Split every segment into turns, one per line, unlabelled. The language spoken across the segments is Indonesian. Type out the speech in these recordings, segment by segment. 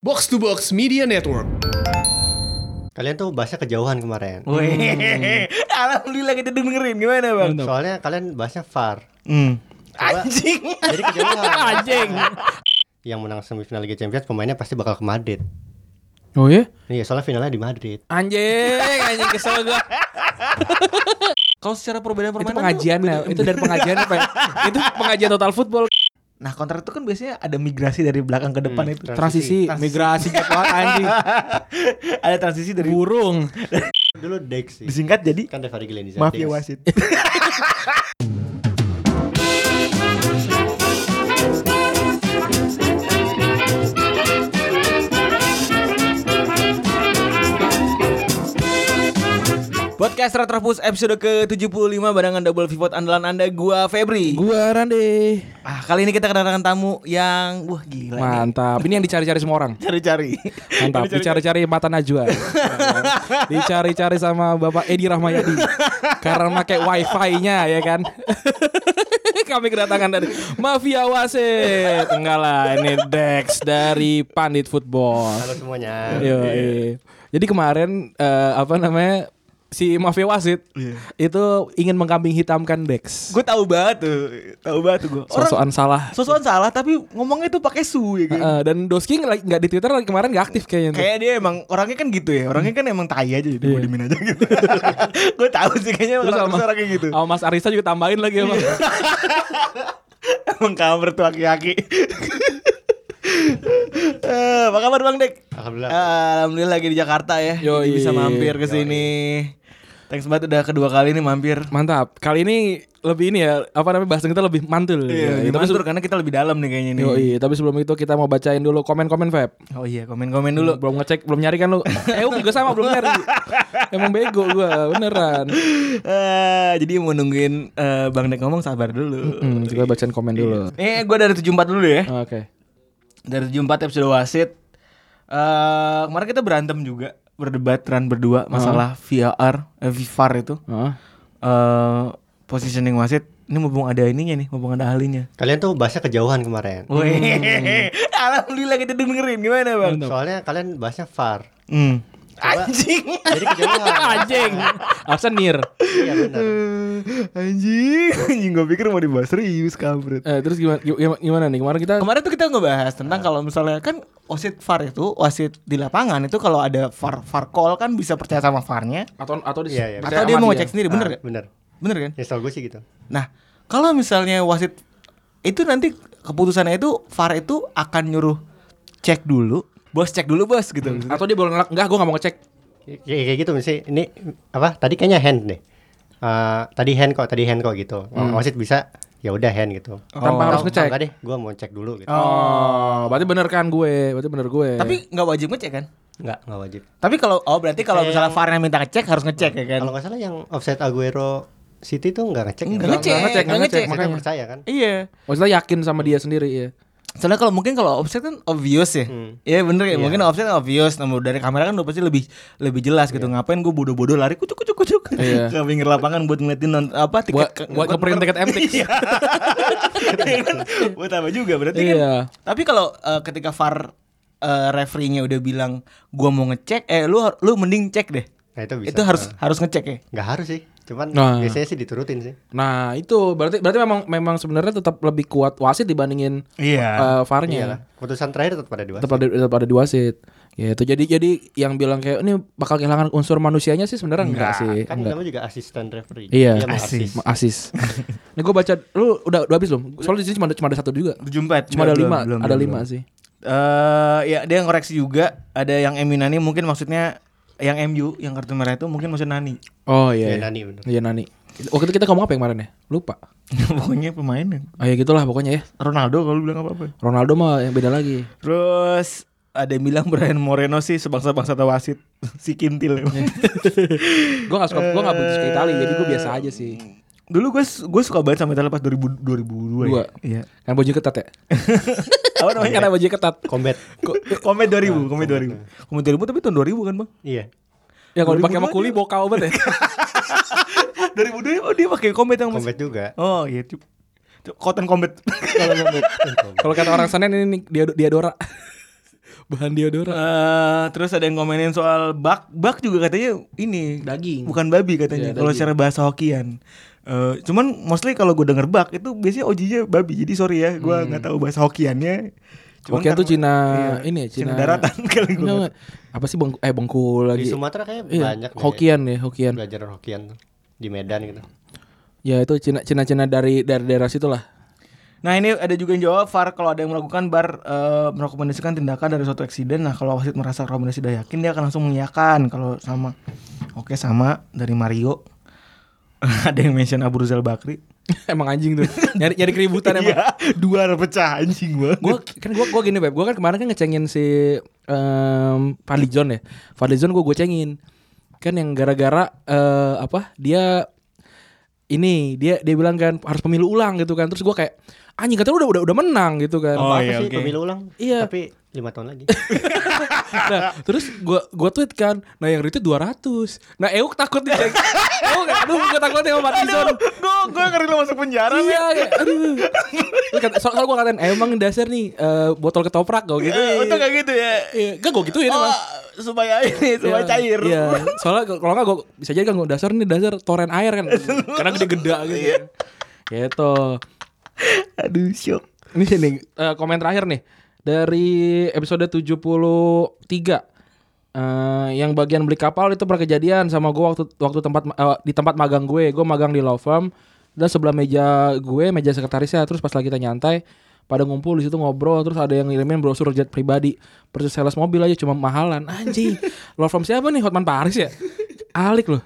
Box to Box Media Network.
Kalian tuh bahasnya kejauhan kemarin.
Oh, Wih, alhamdulillah kita dengerin gimana bang?
Soalnya kalian bahasnya far. Coba-
Anjing.
Jadi kejauhan.
Anjing.
Yang menang semifinal Liga Champions pemainnya pasti bakal ke Madrid.
Oh ya?
Iya, soalnya finalnya di Madrid.
Anjing, anjing kesel gua.
Kalau secara perbedaan
itu
permainan
pengajian
tuh,
Nel. itu dari pengajian apa? ya? itu pengajian total football. Nah, kontrak itu kan biasanya ada migrasi dari belakang ke
Hmm.
depan itu.
Transisi.
Transisi, migrasi jadwal anjing. ada transisi dari burung.
Dulu Dex sih.
Disingkat jadi
Kan Devari Glenn
mafia ya, wasit.
Podcast Retropus episode ke-75 barengan double pivot andalan Anda gua Febri.
Gua Rande.
Ah, kali ini kita kedatangan tamu yang wah gila nih.
Mantap. Ini yang dicari-cari semua orang.
Cari-cari.
Mantap. Dicari-cari mata Najwa. Dicari-cari sama Bapak Edi Rahmayadi. Karena pakai wifi-nya ya kan. Kami kedatangan dari Mafia Wasit. Enggak lah, ini Dex dari Pandit Football.
Halo semuanya.
Yo,
Iya.
iya. Jadi kemarin eh, apa namanya? Si Mafia Wasit
Iya.
itu ingin mengkambing hitamkan Dex.
Gue tahu banget tuh. Tahu banget tuh gua. Orang
Sosokan salah.
sosokan salah tapi ngomongnya tuh pakai su ya kayak.
Eh, dan Doski nggak nggak di Twitter kemarin nggak aktif kayaknya. tuh.
Kayak dia emang orangnya kan gitu ya. Orangnya kan emang tai aja jadi gue dimin aja gitu. gue tahu sih kayaknya
Iya. Terus
orang
sama-
orangnya gitu. Iya.
Sama Mas Arista juga tambahin lagi emang.
Emang kamar tuh aki-aki. Eh, apa kabar Bang Dek?
Alhamdulillah.
Eh, Alhamdulillah lagi di Jakarta ya.
Yoi.
Jadi bisa mampir ke sini. Thanks banget udah kedua kali nih mampir.
Mantap. Kali ini lebih ini ya, apa namanya bahasan kita lebih mantul.
Iya,
Ya, tapi,
mampir karena kita lebih dalam nih kayaknya nih.
Yoi, tapi sebelum itu kita mau bacain dulu komen-komen Feb.
Oh iya, komen-komen dulu.
Belum ngecek, belum nyari kan lu. eh, gue sama belum nyari. Emang bego gua, beneran.
Eh, jadi mau nungguin eh, Bang Dek ngomong sabar dulu.
Hmm, kita bacain komen dulu.
Eh, gue dari 74 dulu ya.
Oke.
Dari 74 episode wasit. Eh, kemarin kita berantem juga, berdebat ran berdua masalah VAR, eh, VAR itu.
Heeh.
eh positioning wasit ini mumpung ada ininya nih, mumpung ada ahlinya.
Kalian tuh bahasnya kejauhan kemarin.
Oh,
Wih, alhamdulillah kita dengerin gimana bang?
Soalnya kalian bahasnya far.
Hmm.
Coba-
Anjing,
Jadi kejauhan.
Anjing. Alasan nir.
Iya benar.
anjing, anjing gue pikir mau dibahas serius kampret.
Eh, terus gimana, gimana gimana nih? Kemarin kita
Kemarin tuh kita ngebahas tentang kalau misalnya kan wasit VAR itu wasit di lapangan itu kalau ada VAR VAR call kan bisa percaya sama VAR-nya
atau atau di
Iya, iya.
atau dia mau ngecek sendiri bener
Ah,
gak?
Bener.
Bener kan?
Ya setahu gue sih gitu.
Nah, kalau misalnya wasit itu nanti keputusannya itu VAR itu akan nyuruh cek dulu, bos cek dulu bos gitu.
Atau dia boleh ngelak, enggak gua nggak mau ngecek.
Ya, kayak gitu mesti ini apa tadi kayaknya hand nih. Eh, tadi hand kok, tadi hand kok gitu. Wasit bisa ya udah hand gitu.
Tanpa Hmm. harus
Atau,
ngecek.
"Enggak deh, gue mau cek dulu gitu.
Oh, berarti bener kan gue, berarti bener gue.
Tapi nggak wajib ngecek kan?
Enggak, enggak wajib.
Tapi kalau oh berarti kalau
Kayak
misalnya VAR-nya minta ngecek harus ngecek ya kan?
Kalau nggak salah yang offset Aguero City tuh nggak ngecek.
Nggak
ya?
ngecek,
ngecek,
nggak ngecek.
Kita
makanya.
percaya kan?
Iya.
Maksudnya yakin sama dia sendiri ya.
Soalnya kalau mungkin kalau offset kan obvious ya. Iya bener ya. Mungkin offset obvious. Namun dari kamera kan udah pasti lebih lebih jelas gitu. Ngapain gue bodoh-bodoh lari kucuk kucuk kucuk
Iya.
ke pinggir lapangan kan buat ngeliatin non, apa tiket
Buat-
ke-
buat ngeprint tiket MTX.
Iya. Iya kan? buat apa juga berarti kan.
Iya.
Tapi kalau eh, ketika VAR eh, referee-nya udah bilang gua mau ngecek, eh lu lu mending cek deh.
Nah itu bisa.
Itu harus harus ngecek ya.
Nggak harus sih. Cuman
Nah.
biasanya sih diturutin sih.
Nah itu berarti berarti memang memang sebenarnya tetap lebih kuat wasit dibandingin
Iya.
eh,
Iyalah.
VAR-nya.
Keputusan terakhir tetap pada dua.
Tetap ada tetap ada di wasit. Gitu. Jadi jadi yang bilang kayak ini bakal kehilangan unsur manusianya sih sebenarnya enggak, sih.
Kan
enggak.
namanya juga asisten referee.
Iya,
Dia mau assist.
Ma- asis. Ini gue baca lu udah udah habis belum? Soalnya di sini cuma ada, cuma ada satu juga.
74
Cuma ada lima, ada lima
belum.
sih.
Eh, ya dia ngoreksi juga ada yang Eminani mungkin maksudnya yang MU yang kartu merah itu mungkin maksud Nani.
Oh
Iya,
iya. iya.
Nani bener.
Iya Nani. Waktu itu kita ngomong apa yang kemarin ya? Lupa.
Pokoknya pemainnya
Ah ya gitulah pokoknya ya.
Ronaldo kalau bilang apa-apa.
Ronaldo mah yang beda lagi.
Terus ada yang bilang Brian Moreno sih sebangsa-bangsa wasit si Kintil. emang.
Gue gak suka, gue gak begitu suka Itali, jadi gue biasa aja sih.
Dulu gue gue suka banget sama Italia pas 2000, 2002
Dua.
ya. Iya.
Kan baju ketat ya?
Apa namanya?
Karena baju ketat.
Combat.
Komet 2000, Iya. Nah, Komet 2000. Komet 2000 tapi tahun 2000 kan, Bang?
Iya.
Ya kalau
2002
dipakai sama kuli bokau banget ya.
2000 Oh, dia pakai Komet yang masih.
Combat juga.
Oh, iya. Cuk- Cuk- Cotton Komet.
eh,
Kalau kata orang Senen ini dia Diadora. bahan deodoran.
Eh, terus ada yang komenin soal bak bak juga katanya ini
Daging.
bukan babi katanya
Iya,
kalau
daging.
secara bahasa hokian Eh, cuman mostly kalau gue denger bak itu biasanya ojinya babi jadi sorry ya gue nggak tahu bahasa hokiannya
Hokian Hmm. tuh Cina ini ya,
Iya, Cina,
Cina-
daratan kali
Enggak,
gue
enggak. Apa sih bengku eh bengku
Di
lagi?
Sumatera kayak
Iya,
banyak deh
Hokian ya, Hokian.
belajar Hokian tuh. di Medan gitu.
Ya itu Cina Cina Cina dari dari daerah situlah.
Nah ini ada juga yang jawab Far kalau ada yang melakukan bar eh, merekomendasikan tindakan dari suatu eksiden Nah kalau wasit merasa rekomendasi sudah yakin dia akan langsung mengiyakan Kalau sama Oke sama dari Mario Ada yang mention Abu Rizal Bakri
emang anjing tuh. Nyari nyari keributan emang.
Iya dua pecah anjing banget
Gua kan gua gua gini beb, gua kan kemarin kan ngecengin si em Fadli John ya. Fadli John gua gocengin. Kan yang gara-gara eh, apa? Dia ini dia dia bilang kan harus pemilu ulang gitu kan. Terus gua kayak anjing katanya udah udah udah menang gitu kan.
Oh,
Apa
iya,
sih
oke.
pemilu ulang?
Iya.
Tapi lima tahun lagi.
Nah, terus gua gua tweet kan, nah yang retweet 200. Nah, Euk takut dicek. Euk aduh gua takut sama Fadli John.
Gue gue ngeri lo masuk penjara men.
Iya, kayak, aduh. Terus kata- Soal, soal gue katain emang dasar nih eh, botol ketoprak gue gitu.
Eh, Untung gak gitu ya
Gak gue gituin
Oh,
emang.
supaya ini supaya
Iya,
cair
Iya. Soalnya kalau- kalau nggak gue bisa jadi kan gue dasar nih dasar toren air kan. Karena gede-gede gitu.
Iya.
gitu.
Aduh syok
Ini sini eh, komen terakhir nih dari episode 73 Eh, yang bagian beli kapal itu pernah kejadian sama gue waktu waktu tempat eh, di tempat magang gue gue magang di law firm dan sebelah meja gue meja sekretarisnya terus pas lagi kita nyantai pada ngumpul di situ ngobrol terus ada yang ngirimin brosur jet pribadi persis sales mobil aja cuma mahalan anjing law firm siapa nih Hotman Paris ya alik loh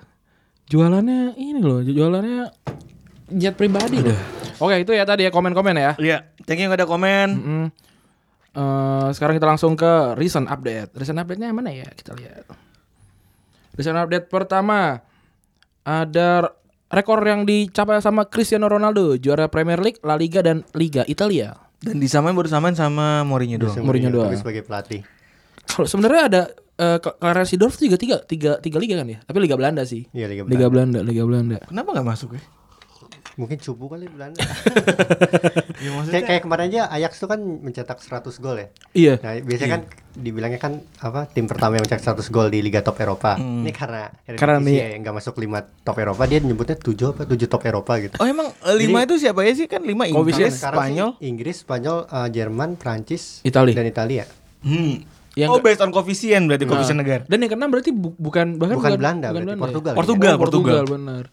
jualannya ini loh jualannya jet pribadi loh oke itu ya tadi ya komen-komen ya
Iya thank you yang ada komen
Mm. Eh, sekarang kita langsung ke recent update. Recent update-nya yang mana ya? Kita lihat. Recent update pertama ada rekor yang dicapai sama Cristiano Ronaldo juara Premier League, La Liga dan Liga Italia.
Dan disamain baru samain sama Mourinho doang
Mourinho doang.
Tapi sebagai pelatih.
Kalau sebenarnya ada eh, Cl- Clarence Seedorf tuh juga tiga, tiga, tiga liga kan ya? Tapi Liga Belanda sih.
Iya, Liga
Liga Belanda, Liga Belanda.
Kenapa gak masuk ya?
Mungkin cupu kali Belanda.
Ya, maksudnya-
kayak, kayak kemarin aja Ajax tuh kan mencetak 100 gol ya.
Iya.
Nah, biasanya kan dibilangnya kan apa tim pertama yang mencetak 100 gol di Liga Top Eropa. Ini karena
Hmm. Karena
Eredivisie ya,
nih-
yang nggak masuk 5 Top Eropa, dia nyebutnya 7 apa 7 Top Eropa gitu.
Oh emang eh, lima itu siapa ya sih kan lima
Kowisnya
Inggris,
Sekarang sih
Spanyol.
Inggris, Spanyol, eh, Jerman, Prancis,
Italia.
dan Italia.
Hmm.
Yang
oh based on koefisien berarti koefisien negara.
Ah. Dan yang keenam berarti bu- bukan bahkan
Bukan Belanda,
bukan
berarti
Belanda ya?
Portugal ya?
Portugal,
Oh, Portugal, benar.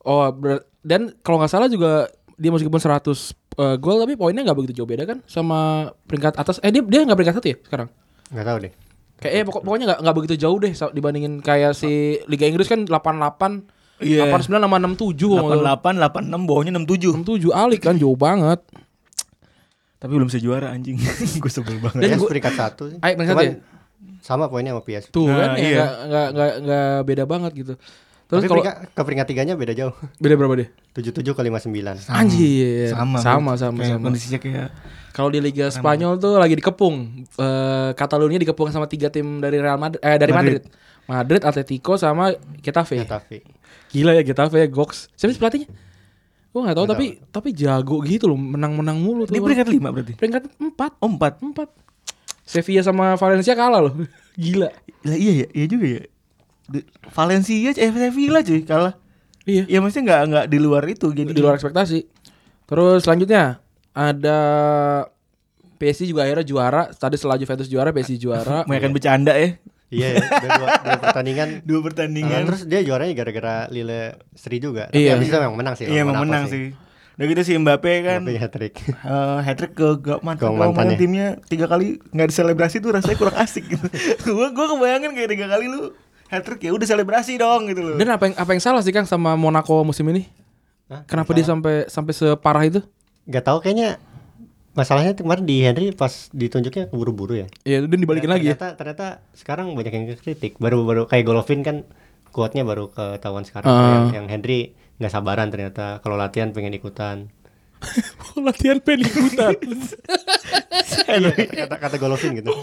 Oh, ber- dan kalau nggak salah juga dia meskipun 100 eh, gol tapi poinnya nggak begitu jauh beda kan sama peringkat atas. Eh dia dia nggak peringkat satu ya sekarang?
Nggak tahu deh.
Kayak eh, pokok- pokoknya nggak nggak begitu jauh deh sa- dibandingin kayak si Liga Inggris kan 88
Iya.
89 sama 67
Delapan
kalau nggak salah.
delapan delapan enam bawahnya enam tujuh.
67 alik kan jauh banget.
Tapi belum bisa juara anjing. Gue sebel banget.
Dan
Dan
gua-
peringkat 1 sih.
Ayo, peringkat
Cuman
satu ya?
sama poinnya sama PS.
Tuh
Nah,
kan ya,
iya.
nggak nggak nggak nggak beda banget gitu. Terus
Tapi
kalau
peringkat, ke peringkat tiganya beda jauh.
beda berapa deh?
77 ke 59.
Anjir. sama sama.
Iya. Kayak
sama.
Kondisinya kayak
Kalau di Liga Spanyol tuh lagi dikepung. Eh Catalonia dikepung sama tiga tim dari Real Madrid eh dari Madrid.
Madrid.
Madrid, Atletico sama Getafe.
Getafe.
Gila ya Getafe ya Gox. Siapa sih pelatihnya? Gue gak tahu tapi tapi jago gitu loh, menang-menang mulu
di
tuh.
peringkat lima berarti.
peringkat 4.
Oh empat.
4. Sevilla sama Valencia kalah loh. Gila.
Lah iya ya, iya juga ya. Di- Valencia, eh Sevilla cuy kalah.
Iya.
Ya maksudnya nggak nggak di luar itu jadi.
Di luar ekspektasi. Terus selanjutnya ada PSG juga akhirnya juara. Tadi setelah Juventus juara, PSG juara.
Mereka bercanda ya.
Iya, ya. udah dua, dua pertandingan.
Dua
Ah,
pertandingan.
terus dia juaranya gara-gara Lille Sri juga.
Iya.
Tapi abis itu memang menang sih.
Iya emang
Monaco
menang sih. Udah gitu sih Mbappe kan.
Tapi hat-trick.
eh hat trick ke gak mantan
Gawang
gawang
mantannya.
timnya tiga kali nggak diselebrasi tuh rasanya kurang asik gitu. gua gua kebayangin kayak tiga kali lu hat trick ya udah selebrasi dong gitu loh.
Dan apa yang apa yang salah sih Kang sama Monaco musim ini?
Hah?
Kenapa dia sampai sampai separah itu?
Gak tau kayaknya masalahnya kemarin di Henry pas ditunjuknya keburu-buru ya.
Ya dan dibalikin lagi ya.
Ternyata, ternyata sekarang banyak yang kritik. Baru-baru kayak Golovin kan kuatnya baru ketahuan sekarang.
Ah.
Yang, yang Henry nggak sabaran ternyata kalau latihan pengen ikutan.
Oh, Latihan pengen ikutan.
Iya,
iya.
kata, kata, kata Golovin gitu.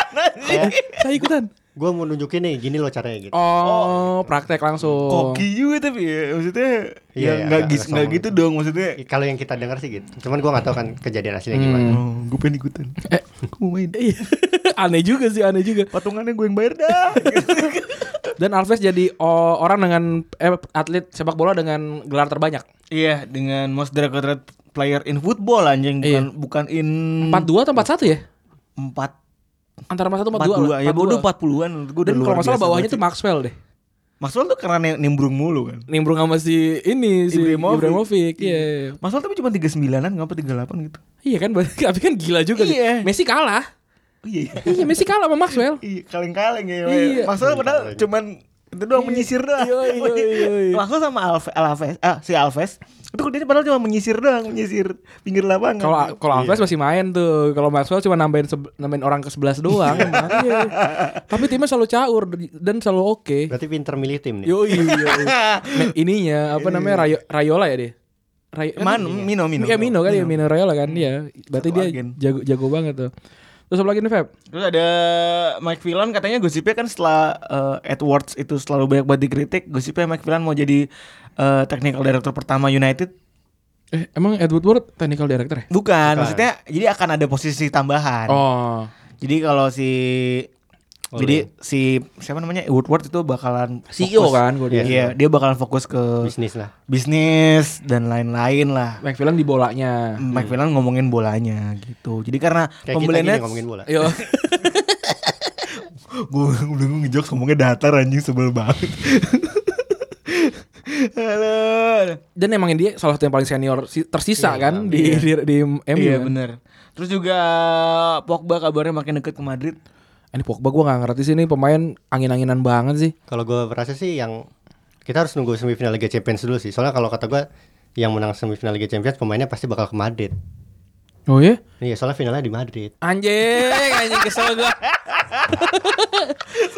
Saya ikutan.
gue mau nunjukin nih gini loh caranya gitu.
Oh, praktek langsung.
Koki juga tapi ya, maksudnya
Iya,
ya
iya,
nggak
agak-
gis-
agak
nggak
sama.
gitu dong maksudnya.
Kalau yang kita dengar sih gitu. Cuman gue nggak tahu kan kejadian aslinya
Hmm.
gimana.
Oh, gue pengen ikutan. Eh, gue mau main.
Iya. aneh juga sih, aneh juga.
Patungannya gue yang bayar dah.
Dan Alves jadi oh, orang dengan eh, atlet sepak bola dengan gelar terbanyak.
Iya, dengan most decorated player in football anjing bukan bukan in
42 atau 41 ya?
4
Antara 41
empat
42
dua
lah.
ya bodoh 40-an gue udah
Dan kalau
luar
nggak salah
biasa
bawahnya
banget
tuh Maxwell deh.
sih. Maxwell tuh karena ne- nimbrung mulu kan
Nimbrung sama si ini si
Ibrahimovic.
Ibrahimovic. Iya.
Maxwell tapi cuma 39an ngapa 38 gitu
Iya kan tapi kan gila juga deh.
Iya.
Messi kalah.
iya
Iya, Messi kalah sama Maxwell.
iya kaleng-kaleng ya
Iya.
Maxwell padahal cuman itu doang menyisir doang
Iya, iya, iya, iya.
Maxwell sama Alves, Alves ah, si Alves itu dia padahal cuma menyisir doang menyisir pinggir lapangan
Kalau kalau
Iya.
Alves masih main tuh, kalau Maxwell cuma nambahin sebe- nambahin orang ke 11 doang. emang. Iya. Tapi timnya selalu caur dan selalu oke.
Berarti pinter milih tim nih.
Yoi, yoi. Me- ininya apa namanya Rayo, Rayola ya dia? Rayo,
Iya. Man, Mino, Mino.
Ya Mino kan ya Mino Rayola kan ya. Berarti
Satu
dia
agen.
jago jago banget tuh. Terus apa lagi nih Feb?
Terus ada Mike Villan katanya gosipnya kan setelah eh, Edwards itu selalu banyak banget dikritik Gosipnya Mike Villan mau jadi eh, technical director pertama United
Eh emang Edward Ward technical director ya?
Bukan, maksudnya jadi akan ada posisi tambahan
Oh.
Jadi kalau si Jadi si siapa namanya Woodward itu bakalan
CEO
fokus-
kan gue
Iya,
dia.
dia bakalan fokus ke
Bisnis lah.
bisnis dan lain-lain lah.
McFarlane di bolanya.
Mike Villan ngomongin bolanya gitu. Jadi karena
Kayak kita gini ngomongin bola.
Iya.
Yo.
gue bingung ngejok ngomongnya datar anjing sebel banget halo
Dan emang dia salah satu yang paling senior si- tersisa kan di, di di MU.
iya
kan?
bener terus juga Pogba kabarnya makin deket ke Madrid
Ini Pogba gue gak ngerti sih ini pemain angin-anginan banget sih.
Kalau gue berasa sih yang kita harus nunggu semifinal Liga Champions dulu sih. Soalnya kalau kata gue yang menang semifinal Liga Champions pemainnya pasti bakal ke Madrid.
Oh iya?
Iya, soalnya finalnya di Madrid.
Anjing, anjing kesel gue.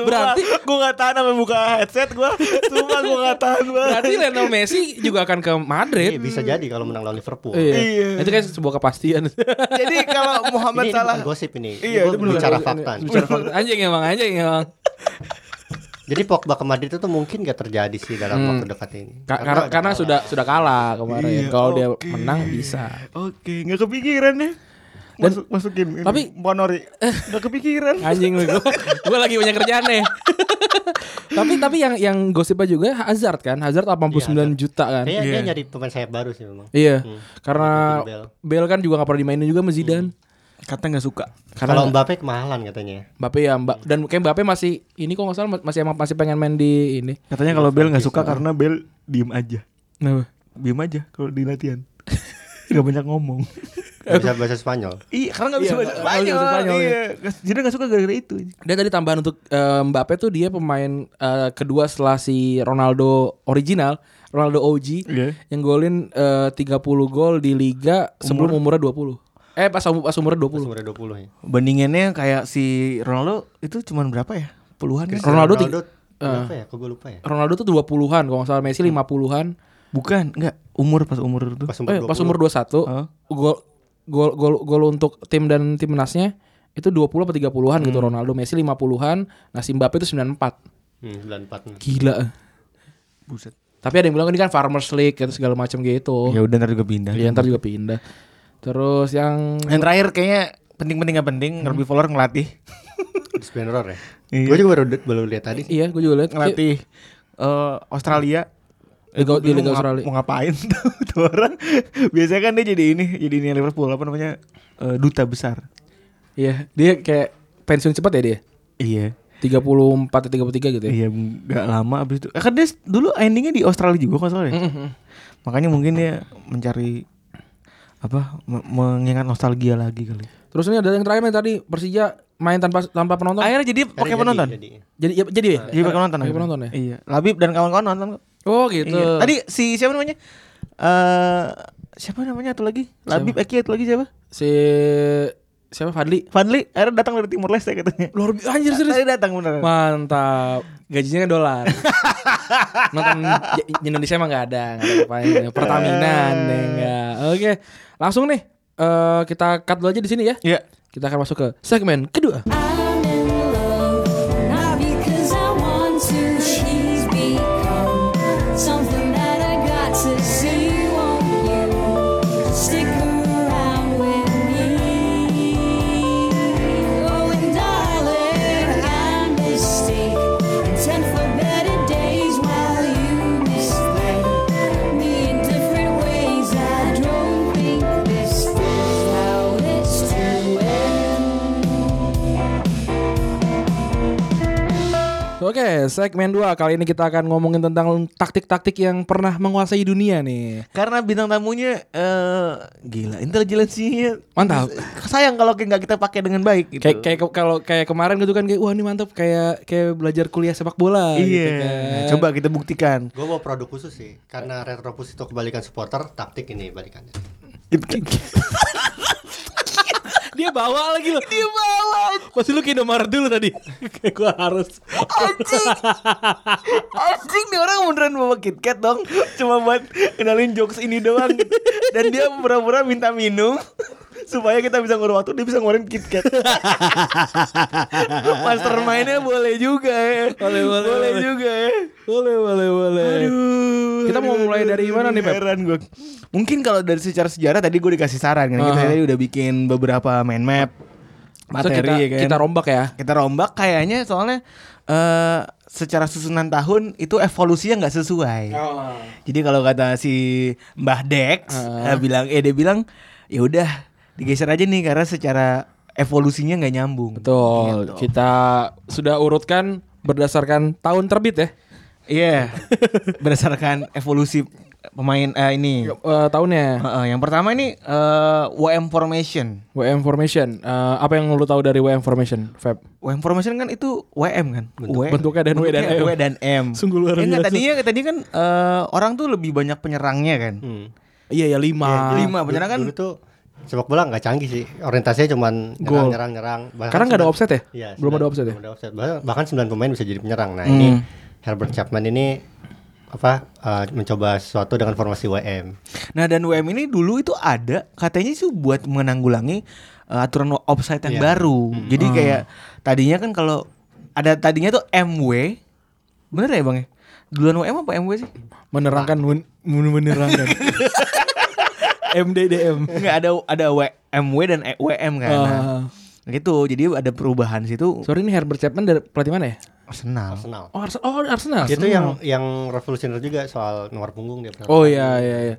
Berarti-
gue gak tahan sama buka headset gue sumpah gue gak tahan banget
Berarti Lionel Messi juga akan ke
Iya,
Madrid.
bisa jadi kalau menang lawan Liverpool.
Iya.
Iya.
Itu kan sebuah kepastian.
jadi kalau
Ini,
Muhammad
ini
Salah
bukan gosip ini.
Iya,
Ini
itu
gua
beneran.
bicara fakta. nih.
Bicara fakta. Anjing emang, anjing emang.
Jadi Pogba ke Madrid itu mungkin gak terjadi sih dalam waktu dekat ini.
Hmm. Ka- karena karena sudah sudah kalah
Iya,
kemarin. Kalau dia
oke.
menang bisa.
oke gak kepikiran ya Masuk, masukin ini,
tapi-
Bonori gak kepikiran
Anjing lu gua, gua lagi punya kerjaan nih. tapi tapi yang yang gosipnya juga Hazard kan. Hazard 89 juta kan.
Kayaknya
Iya.
dia nyari pemain sayap baru sih memang.
Iya. Karena
Bale.
Bale kan juga gak pernah dimainin juga sama Zidane.
kata gak suka
Karena
Kalau Mbappe kemahalan katanya.
Mbappe ya Mbak dan kayak Mbappe masih ini kok nggak salah masih emang masih pengen main di ini.
katanya kalau Bel gak suka karena Bel diem aja
Kenapa?
diem aja kalau di latihan gak banyak ngomong
Nggak bisa bahasa Spanyol.
Iya, karena gak bisa
Iya,
bahasa
nggak- nggak bisa
Spanyol.
bahasa Spanyol,
Iya, jadi gak suka gara-gara itu.
Dan tadi tambahan untuk eh, Mbappe tuh dia pemain eh, kedua setelah si Ronaldo original, Ronaldo OG
Iya.
yang golin eh, 30 gol di liga sebelum umurnya 20. Eh pas um- pas umurnya 20.
Umurnya 20 ya.
Bandingannya kayak si Ronaldo itu cuman berapa ya? Puluhan ya?
Ronaldo Ah. ti-
berapa ya? Kok gue lupa ya?
Ronaldo tuh 20-an kalau nggak salah Messi 50-an.
Bukan, enggak. Umur pas umur itu.
Pas umur
Eh,
20.
pas umur 21
Heeh.
gol gol gol gol untuk tim dan timnasnya itu 20 atau 30-an gitu
Hmm.
Ronaldo, Messi 50-an, nah si Mbappe itu 94.
Hmm, 94.
Gila.
Buset.
Tapi ada yang bilang ini kan Farmers League gitu segala macam gitu.
Ya udah ntar juga pindah.
Iya ntar juga pindah. Terus yang
Yang terakhir kayaknya penting-penting gak penting, Robbie Fowler ngelatih.
Dispenderor ya.
Hmm. Iya.
Gue juga baru baru lihat tadi.
iya gue juga lihat Kayak
Eh, ngelatih eh, Australia.
Liga, di
Bingung
Liga
mau ngap-
Australia.
Mau ngapain tuh, tuh orang? Biasanya kan dia jadi ini, jadi ini Liverpool apa namanya? eh, duta besar.
Iya, dia kayak pensiun cepat ya dia.
Iya.
34 atau 33 gitu ya.
Iya nggak lama abis itu Eh, Kan dia s- dulu endingnya di Australia juga kalau salah ya Makanya mungkin dia mencari Apa me- Mengingat nostalgia lagi kali
Terus ini ada yang terakhir nih tadi Persija main tanpa tanpa penonton.
Akhirnya jadi pakai
iya,
Jadi-
penonton
jadi.
Jadi ya, jadi ya?
Jadi pakai penonton
Pakai
akhirnya.
penonton ya.
Iya Labib dan kawan-kawan nonton kok.
Oh gitu.
Iya. Tadi si siapa namanya Eh Siapa namanya satu lagi Labib Eki satu lagi siapa
si siapa Fadli?
Fadli akhirnya datang dari Timur Leste katanya
Luar biasa anjir serius.
Tadi datang beneran
Mantap. Gajinya kan dolar. Nonton di Indonesia emang nggak ada, nggak ada apa-apanya. Pertamina
Eh.
deh enggak. Oke. Langsung nih eh, kita cut dulu aja di sini ya.
Iya
Kita akan masuk ke segmen kedua.
I'm in love, and I'll be
Oke, segmen 2 kali ini kita akan ngomongin tentang taktik-taktik yang pernah menguasai dunia nih.
Karena bintang tamunya eh gila intelijensinya
Mantap.
Sayang kalau kayak nggak kita pakai dengan baik gitu.
Kayak kayak ke- kalau kayak kemarin gitu kan kayak wah ini mantap kayak kayak belajar kuliah sepak bola
iya.
gitu kan.
Coba kita buktikan.
Gue mau produk khusus sih, karena Retropus itu kebalikan supporter, taktik ini balikannya.
Dia bawa lagi loh. Dia bawa. Pasti lu ke Indomaret dulu tadi. Kayak gua harus.
Anjing. Anjing nih orang beneran bawa KitKat dong. Cuma buat kenalin jokes ini doang. Dan dia pura-pura minta minum supaya kita bisa ngurus waktu dia bisa ngeluarin KitKat. Mastermind-nya boleh juga ya.
Boleh, boleh,
boleh
boleh.
juga ya.
Boleh, boleh, boleh.
Aduh.
Kita mau
aduh,
mulai
aduh,
dari
aduh,
mana nih, Pep?
Heran gue. Mungkin kalau dari secara sejarah tadi gue dikasih saran kan. Kita
Aha.
tadi udah bikin beberapa mind map
Terus
materi
kita,
ya kan.
kita rombak ya.
Kita rombak kayaknya soalnya eh secara susunan tahun itu evolusinya nggak sesuai.
Oh.
Jadi kalau kata si Mbah Dex
Ah.
eh, bilang eh dia bilang ya udah digeser aja nih karena secara evolusinya nggak nyambung.
Betul. Iya.
Gitu.
Kita sudah urutkan berdasarkan tahun terbit ya.
Iya. Berdasarkan evolusi pemain eh, ini.
Eh, tahunnya.
Heeh, yang pertama ini eh, WM formation.
WM Formation. Eh, apa yang lu tahu dari WM Formation, Feb?
WM formation kan itu WM kan. W-
bentuknya dan W dan
bentuknya
M.
W dan M.
Sungguh luar
Ya
biasa.
nggak, tadinya tadi kan eh, orang tuh lebih banyak penyerangnya kan.
Iya ya lima.
Lima penyerang kan.
Dulu tuh sepak bola nggak canggih sih, orientasinya cuman nyerang,
Gol.
nyerang, nyerang. Bahkan
Karena nggak ada
sembilan-
offset ya?
Iya,
Belum
sembilan-
ada offset ya? Hmm.
belum ada offset. Bah- Bahkan 9 pemain bisa jadi penyerang. Nah ini Herbert Chapman ini apa eh, mencoba sesuatu dengan formasi WM.
Nah dan WM ini dulu itu ada katanya sih buat menanggulangi eh, aturan offside yang
Iya.
baru.
Hmm.
Jadi kayak tadinya kan kalau ada tadinya tuh MW. Bener ya Bang ya? Duluan WM apa MW sih?
Menerangkan men- men- menerangkan. MDDM.
Enggak ada ada W- MW dan E- WM
Iya,
kan.
Ah.
Nah, gitu. Jadi ada perubahan situ
Sorry ini Herbert Chapman dari pelatih mana ya?
Arsenal.
Arsenal.
Oh, Ars- oh Arsenal.
Itu yang yang revolusioner juga soal nomor punggung dia.
Oh iya iya iya.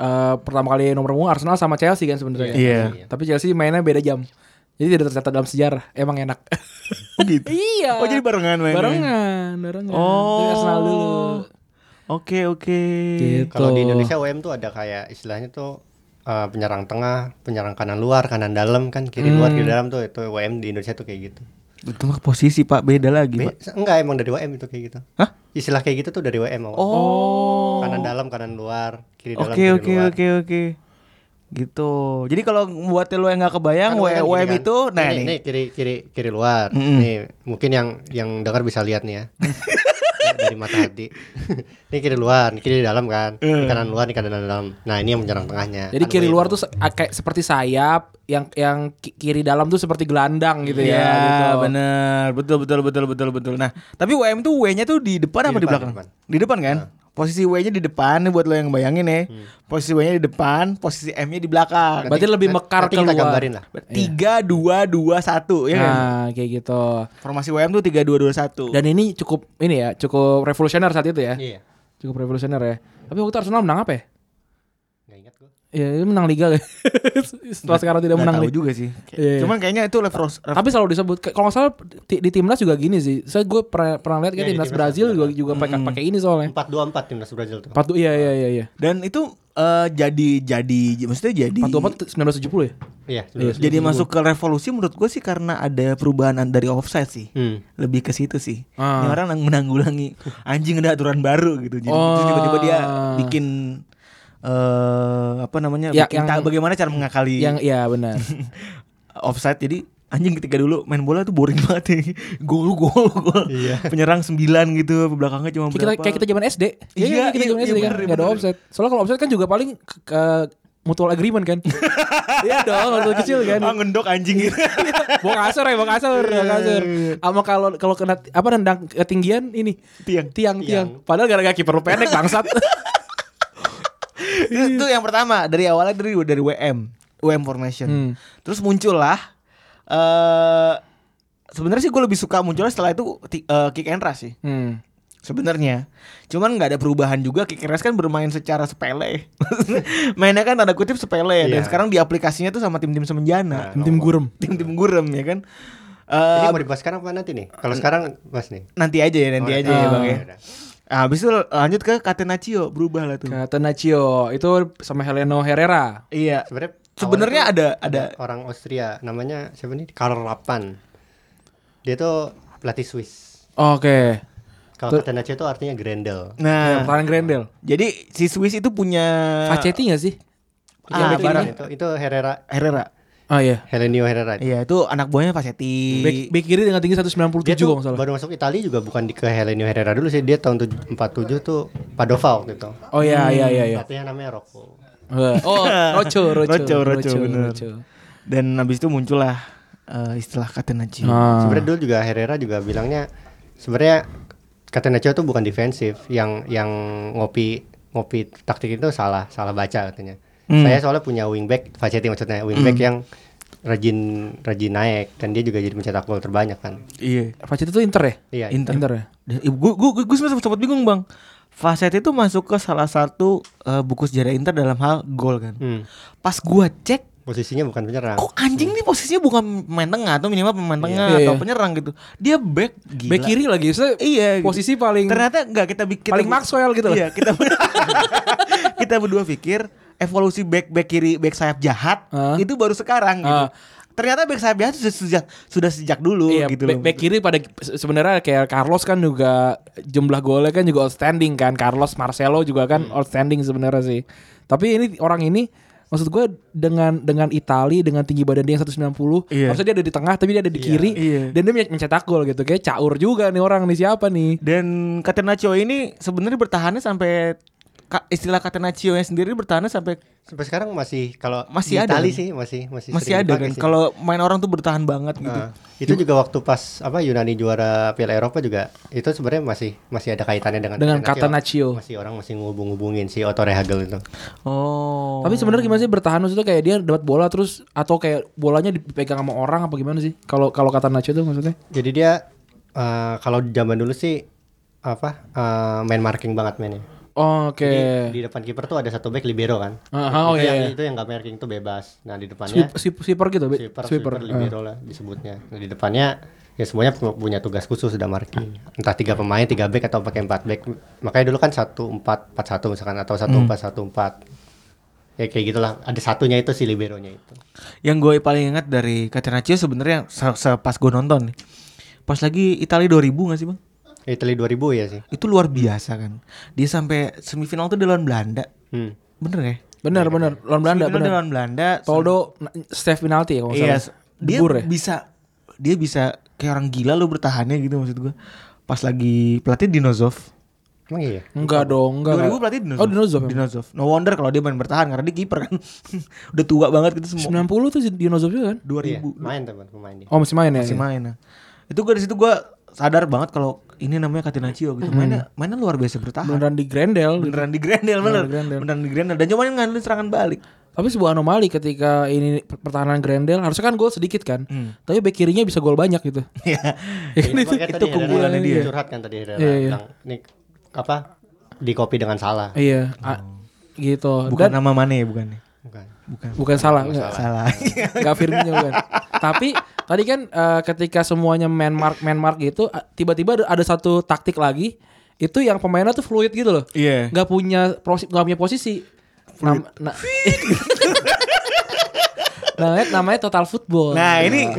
Eh, pertama kali nomor punggung Arsenal sama Chelsea kan sebenarnya.
Iya.
Tapi Chelsea mainnya beda jam. Jadi tidak tercatat dalam sejarah. Emang enak.
Oh gitu.
iya.
Oh jadi barengan mainnya.
barengan, barengan. Jadi
Oh.
Arsenal dulu.
Oke oke.
Gitu.
Kalau di Indonesia WM tuh ada kayak istilahnya tuh eh, penyerang tengah, penyerang kanan luar, kanan dalam kan, kiri luar, kiri dalam tuh itu WM di Indonesia tuh kayak gitu.
Itu mah posisi Pak beda lagi
Be-
Pak.
enggak emang dari WM itu kayak gitu.
Hah?
Istilah kayak gitu tuh dari WM awal.
Oh.
Kanan dalam, kanan luar, kiri dalam,
Oke
kiri
oke
luar. Kan
oke oke. Gitu. Jadi kalau buat lo yang nggak kebayang,
Kan
WM,
kan gini kan.
itu nah
ini,
ini.
ini kiri kiri kiri luar. Nih, mungkin yang yang dengar bisa lihat nih ya. dari mata hati. ini kiri luar, ini kiri dalam kan. Ini kanan luar, ini kanan dalam. Nah, ini yang menyerang tengahnya.
Jadi
Kan
kiri
begitu.
luar tuh se- a- kayak seperti sayap, yang yang ki- kiri dalam tuh seperti gelandang gitu
Iya,
ya. gitu.
bener. Betul betul betul betul betul. Nah, tapi WM tuh W-nya tuh di depan apa di
depan,
belakang?
di depan. Nah.
Di depan kan? Posisi W-nya di depan nih buat lo yang bayangin ya.
Hmm.
Posisi W-nya di depan, posisi M-nya di belakang.
Berarti lebih mekar
Nanti kita
keluar.
gambarin lah.
Tiga dua dua satu ya kan?
Nah, kayak gitu.
Formasi WM tuh tiga dua dua satu.
Dan ini cukup ini ya, cukup revolusioner saat itu ya.
Iya.
Cukup revolusioner ya. Tapi waktu itu Arsenal menang apa ya?
Nggak ingat gua.
Ya, dia menang liga ya. Setelah sekarang tidak
Nggak
menang
tahu
liga.
juga sih.
Iya.
Cuman kayaknya itu level
Tapi selalu disebut Kayak- kalau nggak salah di, di timnas juga gini sih. Saya gue pernah pernah
Iya,
lihat kayak
di
timnas
timnas
Brazil
juga.
juga juga pakai pakai ini
Eh.
soalnya.
4-2-4 timnas Brazil tuh.
Patu iya iya iya iya.
dan itu eh, jadi jadi maksudnya jadi
Patu apa? 1970 ya?
Iya,
Iya.
betul.
jadi masuk ke revolusi menurut gue sih karena ada perubahan an- dari offside sih.
Hmm.
Lebih ke situ sih.
Ah.
Ini orang yang menanggulangi anjing ada aturan baru gitu. Jadi terus
Oh.
tiba-tiba dia bikin eh apa namanya?
Ya,
bikin
yang-
ta- bagaimana cara mengakali
Yang iya benar.
offside. Jadi anjing ketika dulu main bola tuh boring banget. Ya. Gol gol gol. Penyerang 9 gitu, belakangnya cuma
kita,
berapa.
Iya. kayak kita zaman SD.
Iya,
kita
iya,
zaman
iya,
SD kan.
bener,
Gak ada
bener.
offset. Soalnya kalau offset kan juga paling ke, ke- mutual agreement kan. iya dong, waktu kecil
ah
kan.
ngendok anjing gitu.
Bawa kasur ya, bawa kasur,
Iya,
bawa kasur. Sama kalau kalau kena t- apa nendang ketinggian ini
Tiang.
tiang, tiang. Padahal gara-gara kiper lu pendek bangsat. Iya.
itu itu yang pertama dari awalnya dari dari WM WM formation
Hmm.
terus muncullah eh sebenarnya sih gue lebih suka munculnya setelah itu ti- eh, kick and rush sih
hmm.
sebenarnya cuman nggak ada perubahan juga kick and rush kan bermain secara sepele mainnya kan tanda kutip sepele dan
Iya.
sekarang di aplikasinya tuh sama tim-tim semenjana
Tim gurem.
tim-tim gurem ya kan
Ini
Eh
mau dibahas sekarang apa nanti nih? Kalau sekarang bahas nih.
nanti aja ya, nanti
Oh,
aja ya,
oh,
Bang ya.
udah.
Ah, habis itu lanjut ke Catenaccio, berubah lah tuh.
Catenaccio itu sama Heleno Herrera.
Iya.
Sebenarnya
Sebenarnya
awalnya
ada
tuh
ada
orang Austria namanya siapa nih? Karl Lapan. Dia tuh pelatih Swiss.
Oke.
Kalau Catenaccio itu artinya Grendel.
Nah,
Peran Grendel.
jadi si Swiss itu punya
Facchetti gak sih?
Ah,
yang back
benar,
kiri.
itu, itu Herrera,
Herrera.
Ah iya.
Helenio Herrera.
Iya, itu anak buahnya Facetti.
Back, back kiri dengan tinggi 197
Dia
kalau
tuh
nggak salah.
baru masuk Italia juga bukan di ke Helenio Herrera dulu sih. Dia tahun tuj- 47 tuh Padova waktu itu.
Oh iya iya iya iya.
Pelatihnya namanya Rocco.
Oh, Rocho,
Hmm.
Rocho,
Rocho, Rocho, bener. Dan habis itu muncullah eh, istilah Catenaccio.
Ah.
Sebenarnya dulu juga Herrera juga bilangnya sebenarnya Catenaccio itu bukan defensif, yang yang ngopi ngopi taktik itu salah, salah baca katanya.
Hmm.
Saya soalnya punya wingback, Facetti maksudnya, wingback yang rajin rajin naik dan dia juga jadi pencetak gol terbanyak kan.
Iya.
Facchetti itu Inter ya?
Iya.
Inter.
Inter ya?
Dan- eh, Gua gua gua sempat sempat bingung, Bang. Facetti itu masuk ke salah satu eh, buku sejarah Inter dalam hal gol kan.
Hmm.
Pas gua cek
Posisinya bukan penyerang.
kok anjing nih posisinya bukan pemain tengah atau minimal pemain tengah
Iya,
atau
iya.
penyerang gitu. Dia back gila.
Back kiri lagi, saya
Iya.
posisi paling
Ternyata enggak kita bikin
paling Maxwell gitu loh.
Iya, kita kita berdua pikir evolusi back back kiri back sayap jahat
Hah?
itu baru sekarang gitu.
Ah.
Ternyata back sayap jahat sudah sejak sudah sejak dulu
Iya,
gitu
back,
loh.
back kiri pada se- sebenarnya kayak Carlos kan juga jumlah golnya kan juga outstanding kan. Carlos Marcelo juga kan
Hmm.
outstanding sebenarnya sih. Tapi ini orang ini maksud gue dengan dengan Itali dengan tinggi badan dia yang 190,
Iya.
maksudnya dia ada di tengah tapi dia ada di kiri
Iya.
dan dia men- mencetak gol gitu. Kayak caur juga nih orang nih siapa nih?
Dan Catenaccio ini sebenarnya bertahannya sampai ka- istilah Catenaccio nya sendiri bertahannya sampai
Sampai sekarang masih kalau di
Masih ada
Itali
kan?
sih masih masih
masih
sering
ada
dipakai
kan
sih.
kalau main orang tuh bertahan banget gitu.
Nah, itu juga waktu pas apa Yunani juara Piala Eropa juga itu sebenarnya masih masih ada kaitannya dengan
Dengan Catenaccio.
Masih orang masih ngubung-ngubungin si Otto Rehagel itu.
Oh.
Tapi sebenarnya gimana sih bertahan maksudnya kayak dia dapat bola terus atau kayak bolanya dipegang sama orang apa gimana sih? Kalau kalau kata Nacho tuh maksudnya?
Jadi dia eh, kalau zaman dulu sih apa eh, main marking banget mainnya.
Oh, Oke.
Jadi di depan kiper tuh ada satu back libero kan.
Ah, oh
itu
iya,
yang
iya.
itu yang nggak marking tuh bebas. Nah di depannya
Sweep- sweep- sweeper Ah. gitu, be-
sweeper, sweeper, libero lah disebutnya. Nah di depannya ya semuanya pu- punya tugas khusus sudah marking. Entah tiga pemain, tiga back atau pakai empat back. Makanya dulu kan satu empat empat satu misalkan atau satu
Hmm.
empat satu empat. Ya kayak gitulah. Ada satunya itu si liberonya itu.
Yang gue paling ingat dari Catenaccio sebenarnya se- se- pas gue nonton nih. Pas lagi Italia 2000 gak sih bang?
Italia 2000 ya sih.
Itu luar biasa kan. Dia sampai semifinal tuh dia lawan Belanda.
Hmm.
Bener ya?
Bener bener lawan Belanda
Semifinal dia
bener.
lawan Belanda.
Toldo na- save penalti ya kalau nggak
Iya.
salah.
Dia
Debur ya?
bisa dia bisa kayak orang gila lu bertahannya gitu maksud gue. Pas lagi pelatih Dinozov.
Emang iya.
Enggak dong, enggak.
2000 pelatih Dinozov.
Oh, Dinozov. emang.
Dinozov. No wonder kalau dia main bertahan karena dia kiper kan. Udah tua banget gitu semua.
90 tuh Dinozov juga kan?
2000
Iya, main teman pemain dia.
Oh, masih main ya?
masih main. Nah. Itu gue di situ gue sadar banget kalau ini namanya Catenaccio
Mm-hmm.
gitu. Mainnya mainnya luar biasa bertahan.
Beneran di Grendel.
Beneran di Grendel bener.
Beneran di Grendel.
Beneran di Grendel dan cuma ngandelin serangan balik.
Tapi sebuah anomali ketika ini per- pertahanan Grendel harusnya kan gol sedikit kan.
Hmm.
Tapi bek kirinya bisa gol banyak gitu.
Iya.
Ini makanya
itu
tadi Herrera
keunggulannya dia.
Curhat kan tadi Herrera
Iya, iya.
bilang, "Nih, apa di copy dengan salah.
Iya, a- gitu.
bukan
Dan
nama Mane bukan.
Bukan.
Bukan.
bukan salah, enggak.
Salah.
Enggak Firmino kan. Tapi tadi kan eh, ketika semuanya man mark man mark gitu a- tiba-tiba ada, ada satu taktik lagi itu yang pemainnya tuh fluid gitu loh.
Iya.
nggak punya prosi, nggak punya posisi. Nam, na- namanya, namanya total football.
Nah ini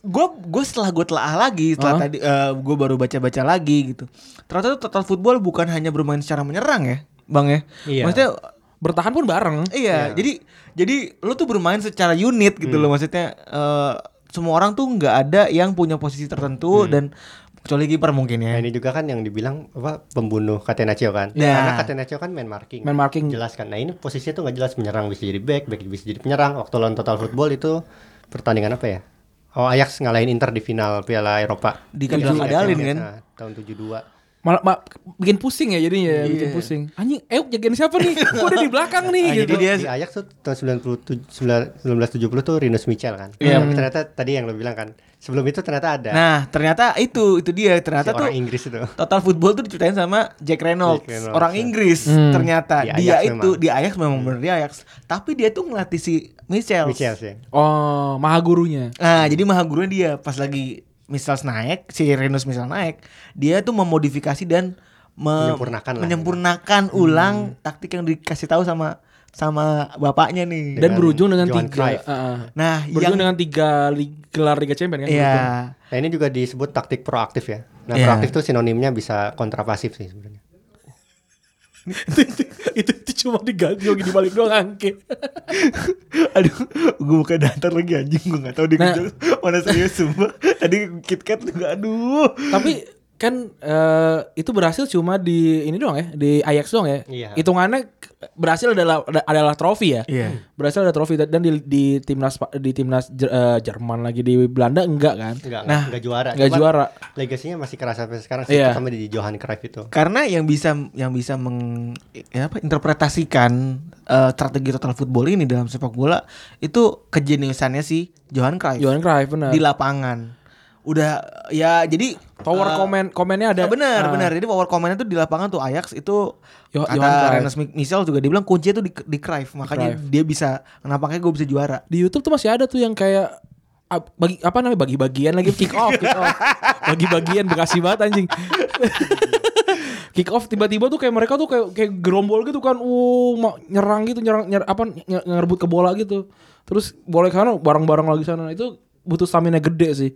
gue gue setelah gue telaah lagi setelah
Huh?
tadi gue baru baca baca lagi gitu ternyata tuh total football bukan hanya bermain secara menyerang ya bang ya
Iya.
maksudnya
bertahan pun bareng.
iya jadi jadi lu tuh bermain secara unit gitu loh maksudnya eh, semua orang tuh nggak ada yang punya posisi tertentu dan kecuali kiper mungkin ya
Nah, ini juga kan yang dibilang apa pembunuh Catenaccio kan.
Nah.
Karena Catenaccio kan main marking.
Man marking.
Jelas kan. Nah, ini posisinya tuh nggak jelas menyerang bisa jadi back, back bisa jadi penyerang. Waktu lawan Total Football itu pertandingan apa ya? Oh, Ajax ngalahin Inter di final Piala Eropa.
Di kan
Piala Champions
Kandang Adalin
ya,
kan?
nah, tahun 72.
Malah ma- bikin pusing ya jadinya, ya, bikin pusing. Anjing, Euk jagain siapa nih? Kok udah di belakang nih
Nah,
gitu.
Iya. jadi dia
di Ajax tuh tahun 97 1970 tuh Rinus Michel kan.
Iya.
Tapi ternyata tadi yang lo bilang kan, sebelum itu ternyata ada
Nah, ternyata itu itu dia
si
ternyata tuh
orang Inggris itu.
Total Football tuh diceritain sama Jack Reynolds,
Jack Reynolds,
orang
ya.
Inggris ternyata
Di
dia
Ajax
itu
memang. Hmm.
di Ajax memang bener di Ajax, tapi dia tuh ngelatih si Michel.
Michel sih.
Oh, maha gurunya.
Nah, jadi maha gurunya dia pas lagi Michel naik, si Renus Michel naik, dia tuh memodifikasi dan me-
Menyempurnakan lah. Hmm.
menyempurnakan ulang taktik yang dikasih tahu sama sama bapaknya nih.
Dan
Dengan
berujung dengan
Johan
tiga
Cruyff.
ah, ah.
nah,
Berujung
yang
dengan tiga lig- gelar Liga
ya
Champions kan. berujung.
Nah ini juga disebut taktik proaktif ya. Nah
Iya.
proaktif tuh sinonimnya bisa kontrapasif sih sebenarnya.
itu, itu, itu cuma diganti di balik doang angke.
Aduh, gue buka datar lagi anjing gue gak tahu dia
Nah.
kejauh- mana serius sumpah. Tadi KitKat juga aduh.
Tapi kan eh, itu berhasil cuma di ini doang ya, di Ajax doang ya.
Iya.
Hitungannya k- berhasil adalah adalah trofi ya.
Iya.
Berhasil ada trofi dan di di timnas di timnas Jer- eh, Jerman lagi di Belanda enggak kan?
Enggak,
Nah,
nah, enggak juara.
Enggak
Cuman
juara.
Legasinya masih kerasa sampai sekarang sih,
Iya.
terutama di Johan Cruyff itu.
Karena yang bisa yang bisa meng ya apa interpretasikan eh, strategi total football ini dalam sepak bola itu kejeniusannya si Johan Cruyff
Johan Cruyff benar.
di lapangan. Udah ya jadi
Power
eh,
komen komennya
Nah,
ada.
benar,
Ah.
benar. Jadi power komennya tuh di lapangan tuh Ajax itu
Yo- Johan Cruyff.
kata Rennes Mi- Michel juga dibilang kunci itu di, di Cruyff. Makanya
Cruyff.
dia bisa kenapa kayak gue bisa juara.
Di YouTube tuh masih ada tuh yang kayak ab- bagi apa namanya bagi-bagian lagi kick off, kick off. Bagi-bagian bekasi banget anjing. kick off tiba-tiba tuh kayak mereka tuh kayak kayak gerombol gitu kan. Uh, mau nyerang gitu, nyerang nyer, apa nye- ngerebut ke bola gitu. Terus bola ke sana bareng-bareng lagi sana. Itu butuh stamina gede sih.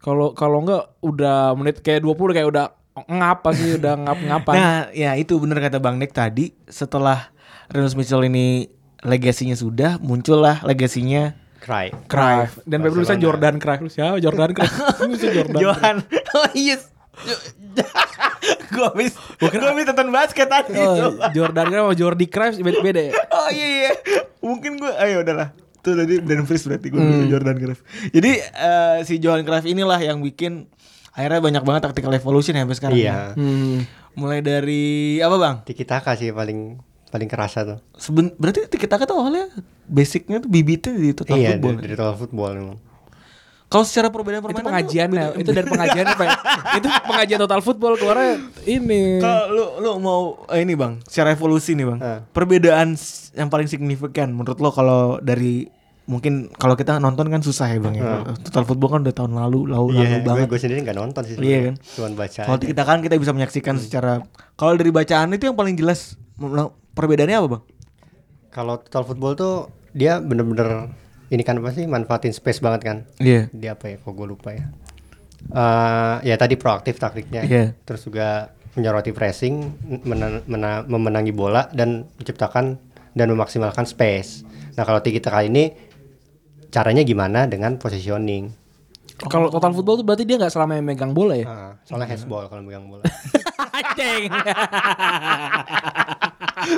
Kalau kalau enggak udah menit kayak 20 kayak udah ngapa sih udah ngap-ngapan.
Nah, ya itu benar kata Bang Dek tadi setelah Renus Michel ini legasinya sudah muncullah legasinya
Cruyff.
Cruyff dan Pep tulisan
Barcelona.
Jordan Cruyff Lu siapa Jordan Cruyff Lu tuh Jordan Cruyff.
Johan. Oh yes. gue habis gue habis tonton basket tadi.
Oh,
coba.
Jordan Cruyff sama Jordi Cruyff beda, beda ya
Oh iya iya. Mungkin gue ayo udahlah. Tuh tadi Dan Fries berarti gue dulu
Hmm.
Jordan Cruyff. Jadi eh, si Johan Cruyff inilah yang bikin akhirnya banyak banget tactical evolution ya sampai sekarang.
Iya.
hmm.
Mulai dari apa Bang?
Tiki Taka sih paling paling kerasa tuh.
Seben, berarti tiki taka tuh awalnya basicnya tuh bibitnya di total
iya,
football.
dari, dari total football memang.
gitu, Kalau secara perbedaan
itu
permainan
pengajian ya itu dari pengajian apa ya? itu pengajian total football keluarnya ini
Kalau lu lu mau eh, ini Bang, secara evolusi nih Bang.
Eh.
Perbedaan s- yang paling signifikan menurut lo kalau dari mungkin kalau kita nonton kan susah ya Bang ya. Total football kan udah tahun lalu, lalu lalu
Iya,
banget.
gue sendiri nggak nonton sih.
Iya
sebenarnya.
kan?
Cuman baca.
Kalau
aja.
kita kan kita bisa menyaksikan secara kalau dari bacaan itu yang paling jelas menurut- perbedaannya apa Bang?
Kalau total football tuh dia bener-bener ini kan apa sih manfaatin space banget kan?
Iya.
Dia apa ya? Kok gue lupa ya. Eh, ya tadi proaktif taktiknya.
Iya.
Terus juga menyoroti pressing, mena- mena- memenangi bola dan menciptakan dan memaksimalkan space. Nah kalau tiki taka ini caranya gimana dengan positioning?
kalau total football tuh berarti dia nggak selama yang megang bola ya
Ah, soalnya handball kalau megang bola.
Aceng.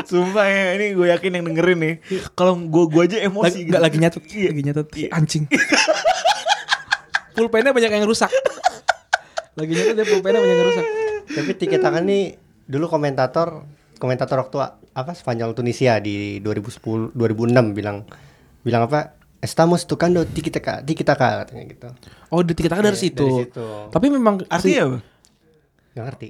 Sumpah ya, ini gue yakin yang dengerin nih. Kalau gue gue aja emosi
lagi,
gitu. Iya.
nggak lagi nyatet lagi nyatet anjing pulpennya banyak yang rusak lagi nyatet dia pulpennya banyak yang rusak
Tapi Tiki Taka nih dulu komentator komentator waktu a- apa Spanyol Tunisia di 2010 2006 bilang bilang apa Estamos tocando Tiki Taka Tiki Taka katanya gitu.
oh detik kita dari
Iya,
situ
dari situ.
tapi memang
Artinya apa?
Gak ngerti.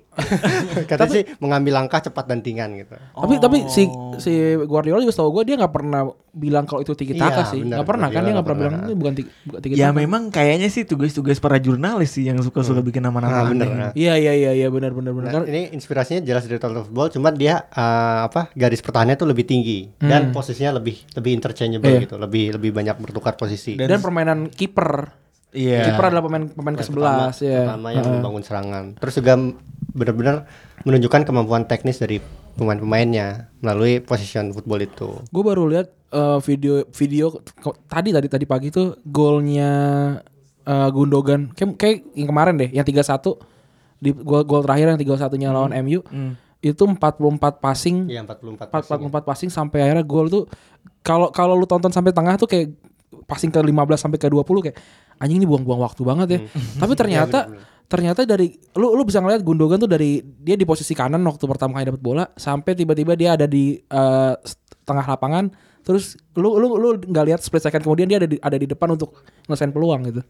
Katanya sih mengambil langkah cepat dan ringan gitu.
Tapi tapi si si Guardiola juga setahu gue dia nggak pernah bilang kalau itu tiki
Iya,
taka sih.
benar.
Nggak pernah kan
Guardiola
dia nggak
nggak
pernah bilang
pernah.
ini bukan tiki, bukan tiki
Ya
taka.
memang kayaknya sih tugas-tugas para jurnalis sih yang suka-suka bikin nama-nama
Ah, bener.
aneh.
Nah,
Iya iya iya iya benar benar benar. Karena-
ini inspirasinya jelas dari total football, cuman dia eh, apa garis pertahanannya tuh lebih tinggi dan posisinya lebih lebih interchangeable
Iya.
gitu, lebih lebih banyak bertukar posisi.
dan, permainan kiper.
Iya.
Kiper adalah pemain pemain ke
pertama,
11 ya.
pertama yang membangun serangan. Terus juga m- benar-benar menunjukkan kemampuan teknis dari pemain-pemainnya melalui position football itu.
Gue baru lihat eh, video video ko- tadi tadi tadi pagi tuh golnya eh, Gundogan kayak, kayak yang kemarin deh yang 3-1 di gol gol terakhir yang 3-1-nya lawan MU. Itu 44 passing
Iya 44.
empat empat empat passing sampai akhirnya gol tuh kalau kalau lu tonton sampai tengah tuh kayak passing ke 15 sampai ke 20 kayak anjing ini buang-buang waktu banget ya. Tapi ternyata ternyata dari lu lu bisa ngeliat Gundogan tuh dari dia di posisi kanan waktu pertama kali dapat bola sampai tiba-tiba dia ada di eh, tengah lapangan terus lu lu lu nggak lihat split second kemudian dia ada di ada di depan untuk ngelesain peluang gitu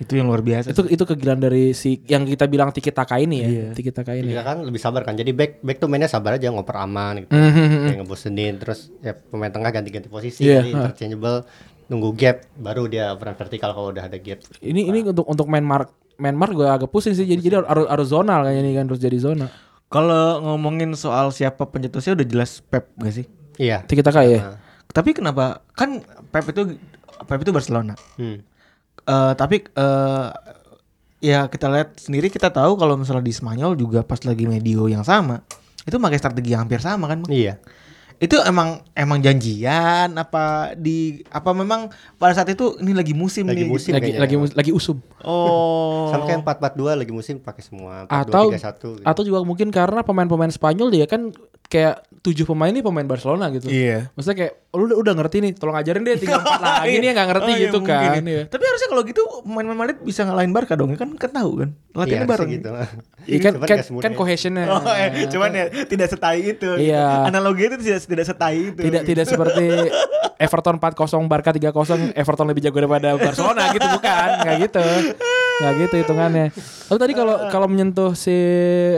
Itu yang luar biasa.
itu itu kegilaan dari si yang kita bilang tiki taka ini ya tiki taka ini
Dia kan lebih sabar kan. Jadi back back tuh mainnya sabar aja ngoper aman gitu.
Hmm,
Kayak ngebosenin terus ya pemain tengah ganti-ganti posisi
Iya,
jadi
ha.
interchangeable nunggu gap baru dia operan vertikal kalau udah ada gap.
ini ini untuk untuk main mark main mark gue agak pusing sih jadi jadi harus harus zonal kayaknya ini kan harus jadi zona
Kalau ngomongin soal siapa pencetusnya udah jelas Pep gak sih?
Iya.
tiki taka ya
Tapi kenapa kan Pep itu Pep itu Barcelona.
Hmm.
Eh, tapi eh, ya kita lihat sendiri kita tahu kalau misalnya di Spanyol juga pas lagi medio yang sama itu pakai strategi yang hampir sama kan Bang?
Iya.
itu emang emang janjian apa di apa memang pada saat itu ini lagi musim
Lagi
nih gitu?
musim
lagi
kayaknya. ya.
lagi mus- lagi usum
oh
Sama kayak 4-4-2 lagi musim pakai semua 4-2-3-1
atau
gitu.
atau juga mungkin karena pemain-pemain Spanyol dia kan kayak tujuh pemain ini pemain Barcelona gitu.
Iya.
Maksudnya kayak lu udah, udah ngerti nih, tolong ajarin deh tiga empat lagi nih yang nggak ngerti
Oh, iya,
gitu
mungkin
kan.
ya.
Iya.
Tapi harusnya kalau gitu pemain-pemain Madrid bisa ngalahin Barca dong, ya kan kan tahu kan.
Iya,
Latihannya bareng.
sih gitu.
Iya kan
Cuman
kan,
nggak semudah
kan
itu.
cohesionnya.
Oh, eh, cuman ya tidak setai itu.
Iya.
Analogi itu tidak tidak setai itu.
Tidak tidak seperti Everton 4-0 Barca 3-0 Everton lebih jago daripada Barcelona gitu bukan nggak gitu nggak gitu hitungannya lalu tadi kalau kalau menyentuh si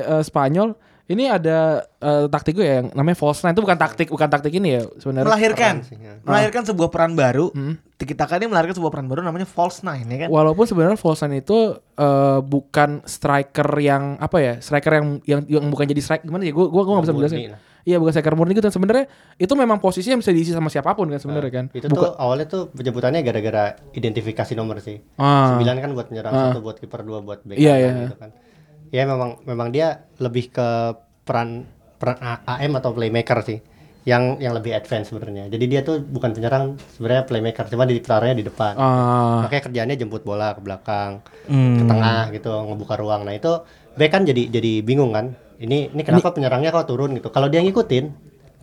eh, Spanyol ini ada eh, taktik gue ya yang namanya false nine itu bukan taktik bukan taktik ini ya sebenarnya
melahirkan
Peran sih, ya.
melahirkan sebuah peran baru.
Hmm.
Tiki Taka ini melahirkan sebuah peran baru namanya false nine ya kan.
Walaupun sebenarnya Volsan itu eh, bukan striker yang apa ya, striker yang yang, yang bukan jadi striker gimana ya? Gue gua gua nggak bisa
Murni
jelasin.
lah.
Iya, bukan striker murni gitu. Dan Sebenarnya itu memang posisi yang bisa diisi sama siapapun kan sebenarnya kan.
Ah, Itu
Bukan-
tuh awalnya tuh penyebutannya gara-gara identifikasi nomor sih.
Ah.
Sembilan kan buat menyerang, satu buat kiper, dua buat back
Iya,
kanan
iya.
gitu kan. Ya memang memang dia lebih ke peran peran A- AM atau playmaker sih yang yang lebih advance sebenarnya. Jadi dia tuh bukan penyerang sebenarnya playmaker, cuma di taruhnya di depan.
Ah, Hmm.
Makanya kerjaannya jemput bola ke belakang, ke tengah gitu, ngebuka ruang. Nah, itu back kan jadi jadi bingung kan. Ini ini kenapa penyerangnya kok turun gitu. Kalau dia ngikutin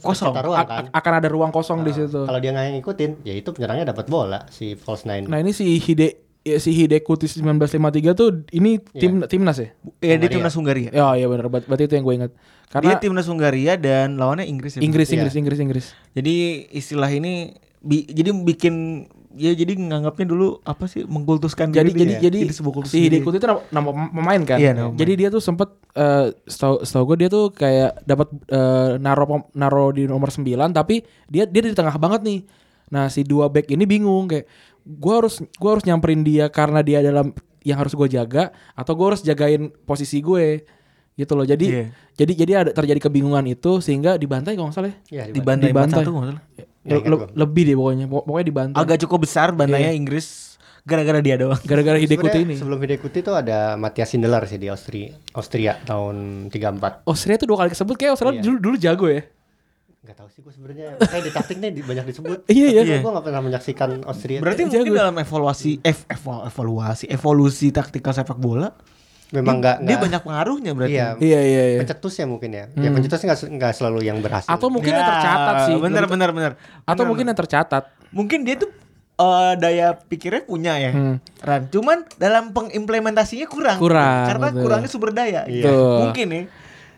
Kosong.
cipta ruang
a-
kan. Nah,
a- akan ada ruang kosong di situ.
Kalau gitu. dia nggak ngikutin, ya itu penyerangnya dapat bola si false nine.
Nah, ini si Hide ya, si Hidekuti 1953 tuh ini
Iya.
tim timnas ya?
Ya di timnas Hungaria.
Ya, ya benar. Ber- Berarti itu yang gue ingat.
Dia
Karena
timnas Hungaria dan lawannya Inggris ya. Bang?
Inggris, Inggris,
Iya.
Inggris, Inggris.
Jadi istilah ini bi- jadi bikin ya jadi nganggapnya dulu apa sih mengkultuskan
jadi
diri
jadi
ya.
jadi
sebuah kultus
si
diri.
Hidekuti itu nama, nama pem- pemain kan.
Iya, nama
jadi dia tuh sempet eh setahu setahu gue dia tuh kayak dapat eh, naro pem- naro di nomor 9 tapi dia dia di tengah banget nih. Nah, si dua back ini bingung kayak gue harus gua harus nyamperin dia karena dia dalam yang harus gue jaga atau gue harus jagain posisi gue gitu loh. Jadi
Iya.
jadi jadi ada terjadi kebingungan itu sehingga dibantai kalau nggak salah.
Ya,
ya.
di bantai
dibantai.
satu nggak salah.
Ya,
Le-
ingat
le- lebih deh pokoknya. Pok- Pokoknya dibantai.
Agak cukup besar bantainya
Iya.
Inggris gara-gara dia doang.
gara-gara Hidekuti
Sebenarnya
ini.
Sebelum Hidekuti itu ada Matias Sindelar sih di Austria, Austria tahun 34.
Austria tuh dua kali kesebut
Iya.
kayak Austria dulu dulu jago ya.
Gak tahu sih gue sebenarnya. Kayak di taktiknya di- banyak disebut.
Iya, iya.
Gue gak pernah menyaksikan Austria.
Berarti
Jago.
mungkin dalam evaluasi ev- eval- evaluasi evolusi taktikal sepak bola
memang nggak
dia
nggak-
banyak pengaruhnya berarti.
Iya.
Iya Hmm. iya iya.
Pencetusnya mungkin ya. Ya pencetusnya nggak se- nggak selalu yang berhasil.
Atau mungkin
Ya,
yang tercatat sih.
Bener
Belum-
bener bener.
Atau
Bener,
mungkin yang tercatat.
mungkin dia tuh eh, daya pikirnya punya ya, Ran. Cuman dalam pengimplementasinya kurang.
Kurang,
Karena
betul.
kurangnya sumber daya. gitu.
Betul.
Mungkin ya.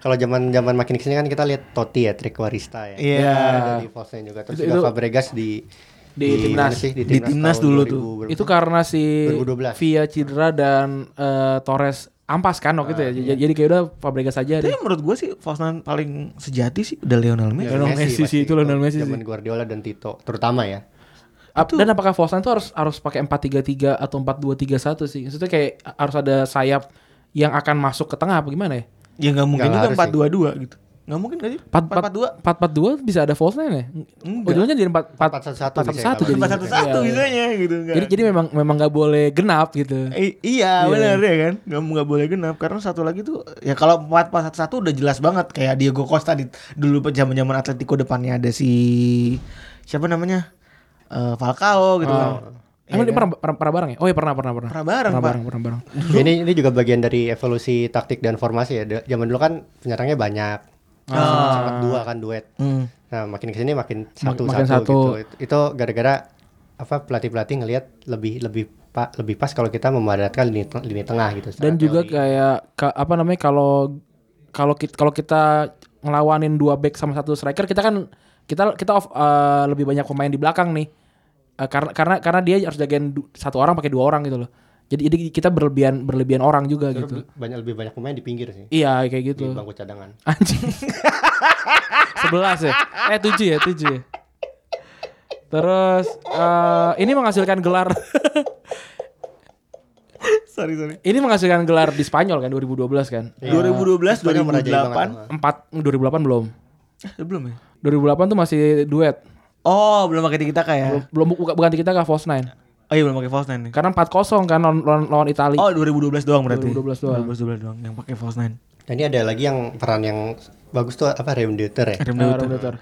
Kalau zaman zaman makin kesini kan kita lihat Totti ya, Trick Warista ya.
Iya.
Jadi false-nya juga. Terus
Itu-
juga
itu-
Fabregas di mana
Di timnas.
sih? di
Di timnas
tahun
dulu tuh.
2000 berapa?
Itu kan karena si
2012.
Via Cidra dan eh, Torres ampas kan
Ah,
waktu itu ya.
iya.
Jadi- Jadi kayak udah Fabregas aja
Tapi
deh.
menurut gue sih Fosnan paling sejati sih udah Lionel Messi.
Lionel Messi sih,
pasti.
itu Lionel Messi
Zaman Guardiola dan Tito terutama ya.
Ap- Dan apakah Fosan tuh harus harus pakai 4-3-3 atau 4-2-3-1 sih? Maksudnya kayak harus ada sayap yang akan masuk ke tengah apa gimana ya?
Ya nggak mungkin
Nggak harus
juga 4-2-2 gitu. Nggak mungkin gak sih? 4-4-2.
4-4-2 bisa ada false nine ya? Ujungnya jadi
4-1-1
4-4-1
bisa ya,
jadi.
kalau
4-1-1 misalnya gitu. nggak-
Iya, Jadi jadi memang memang nggak boleh genap gitu.
I- iya benar ya kan nggak nggak boleh genap karena satu lagi tuh ya kalau empat pas satu satu udah jelas banget kayak Diego Costa di, dulu zaman zaman Atletico depannya ada si siapa namanya Eh, Falcao gitu kan
Emang dia pernah, pernah pernah bareng ya? Oh iya pernah pernah pernah.
Pernah bareng,
pernah
Pak.
bareng pernah bareng.
ini ini juga bagian dari evolusi taktik dan formasi ya. Da- Zaman dulu kan penyerangnya banyak. Sempat
Ah.
sempat dua kan duet.
Hmm.
Nah, makin kesini makin
Mak-
satu
makin
satu,
satu.
gitu. Itu gara-gara apa pelatih-pelatih ngelihat lebih lebih pak lebih pas kalau kita memadatkan lini, teng- lini tengah gitu secara
Dan juga
teori.
kayak ka- apa namanya kalau kalau kita kalau kita ngelawanin dua back sama satu striker kita kan kita kita off, eh, lebih banyak pemain di belakang nih. Eh, karena karena karena dia harus jagain du- satu orang pakai dua orang gitu loh. Jadi jadi kita berlebihan berlebihan orang juga
Terus
gitu.
banyak lebih banyak pemain di pinggir sih
Iya kayak
di
gitu.
bangku cadangan
Anjing. 11 ya? Eh 7 ya, 7 ya. Terus eh, ini menghasilkan gelar
sorry sorry.
ini menghasilkan gelar di Spanyol kan 2012 kan.
Iya. 2012,
Spanyol merajai banget
2008.
sama-
4 2008 belum.
Eh, belum ya?
2008 tuh masih duet.
Oh, belum pakai kita
Belum
kayak.
belum buka, bukan kita ke Fos 9.
Oh iya belum pakai false nine.
Karena 4-0 kan lawan lawan, lawan Italia.
Oh, 2012 doang berarti.
2012 doang.
2012 doang yang pakai false nine.
Dan Nah, ini ada lagi yang peran yang bagus tuh apa Reum Deuter ya?
Adam Deuter.
Nah, Adam Deuter.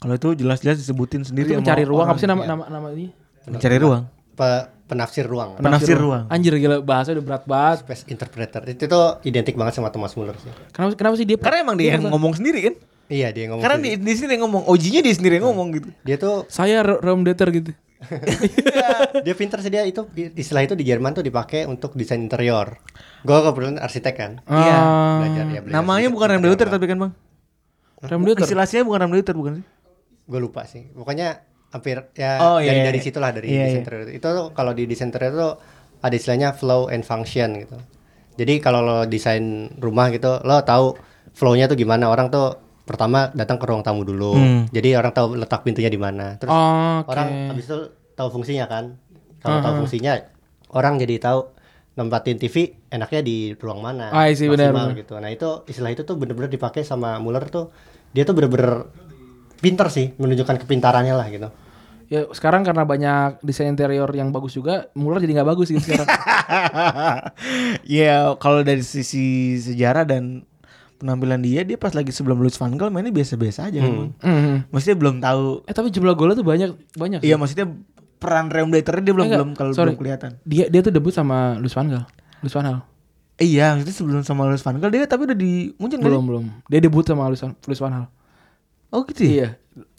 Kalau itu jelas-jelas disebutin
Itu
sendiri sama
mencari ruang
orang.
apa sih nama nama nama
iya.
ini?
Mencari ruang.
Pe- penafsir ruang,
Penafsir ruang.
Anjir gila bahasanya udah berat banget.
space interpreter. Itu tuh identik banget sama Thomas Muller sih.
Kenapa kenapa sih dia
Karena emang dia yang ngomong sendiri kan?
Iya dia yang ngomong.
Karena
sendiri.
di, di sini dia ngomong, OG-nya dia sendiri yang ngomong gitu.
dia tuh
saya Rom Deter gitu.
dia pinter sih dia itu istilah itu di Jerman tuh dipakai untuk desain interior. Gua kebetulan arsitek kan.
Iya.
Ah,
Belajar ya belajar
Namanya
sedikit
bukan Ram
interior
Deuter
doang.
tapi kan bang?
Ram Deuter.
Istilahnya bukan Ram Deuter bukan sih?
Gua lupa sih. Pokoknya hampir ya
Oh,
dari
iya,
dari
iya.
situlah dari
Iya,
desain
iya.
interior. Itu tuh kalau di desain interior tuh ada istilahnya flow and function gitu. Jadi kalau lo desain rumah gitu, lo tahu flow-nya tuh gimana. Orang tuh pertama datang ke ruang tamu dulu.
Hmm. Oh.
Jadi orang tahu letak pintunya di mana. Terus
Oke.
orang habis itu tahu fungsinya kan kalau tahu fungsinya orang jadi tahu nempatin TV enaknya di ruang mana
Ah, iya sih, benar,
maksimal
benar.
gitu nah itu istilah itu tuh bener-bener dipakai sama Muller tuh dia tuh bener-bener pinter sih menunjukkan kepintarannya lah gitu
Ya sekarang karena banyak desain interior yang bagus juga, Muller jadi nggak bagus gitu sekarang.
Ya kalau dari sisi sejarah dan penampilan dia, dia pas lagi sebelum Lutz Van Gaal mainnya biasa-biasa aja kan Bang?
Mhm.
Maksudnya belum tahu.
Eh tapi jumlah golnya tuh banyak banyak. sih.
Iya maksudnya peran Ram Deuter dia belum
Enggak,
belum kalau
sorry.
belum kelihatan.
Dia dia tuh debut sama Luis Van Gaal. Luis Van Gaal.
Iya maksudnya sebelum sama Lutz Van Gaal dia tapi udah di Munchen
Belum
kan?
belum. Dia debut sama Luis Van, Luis Van Gaal.
Oh gitu ya?
Iya.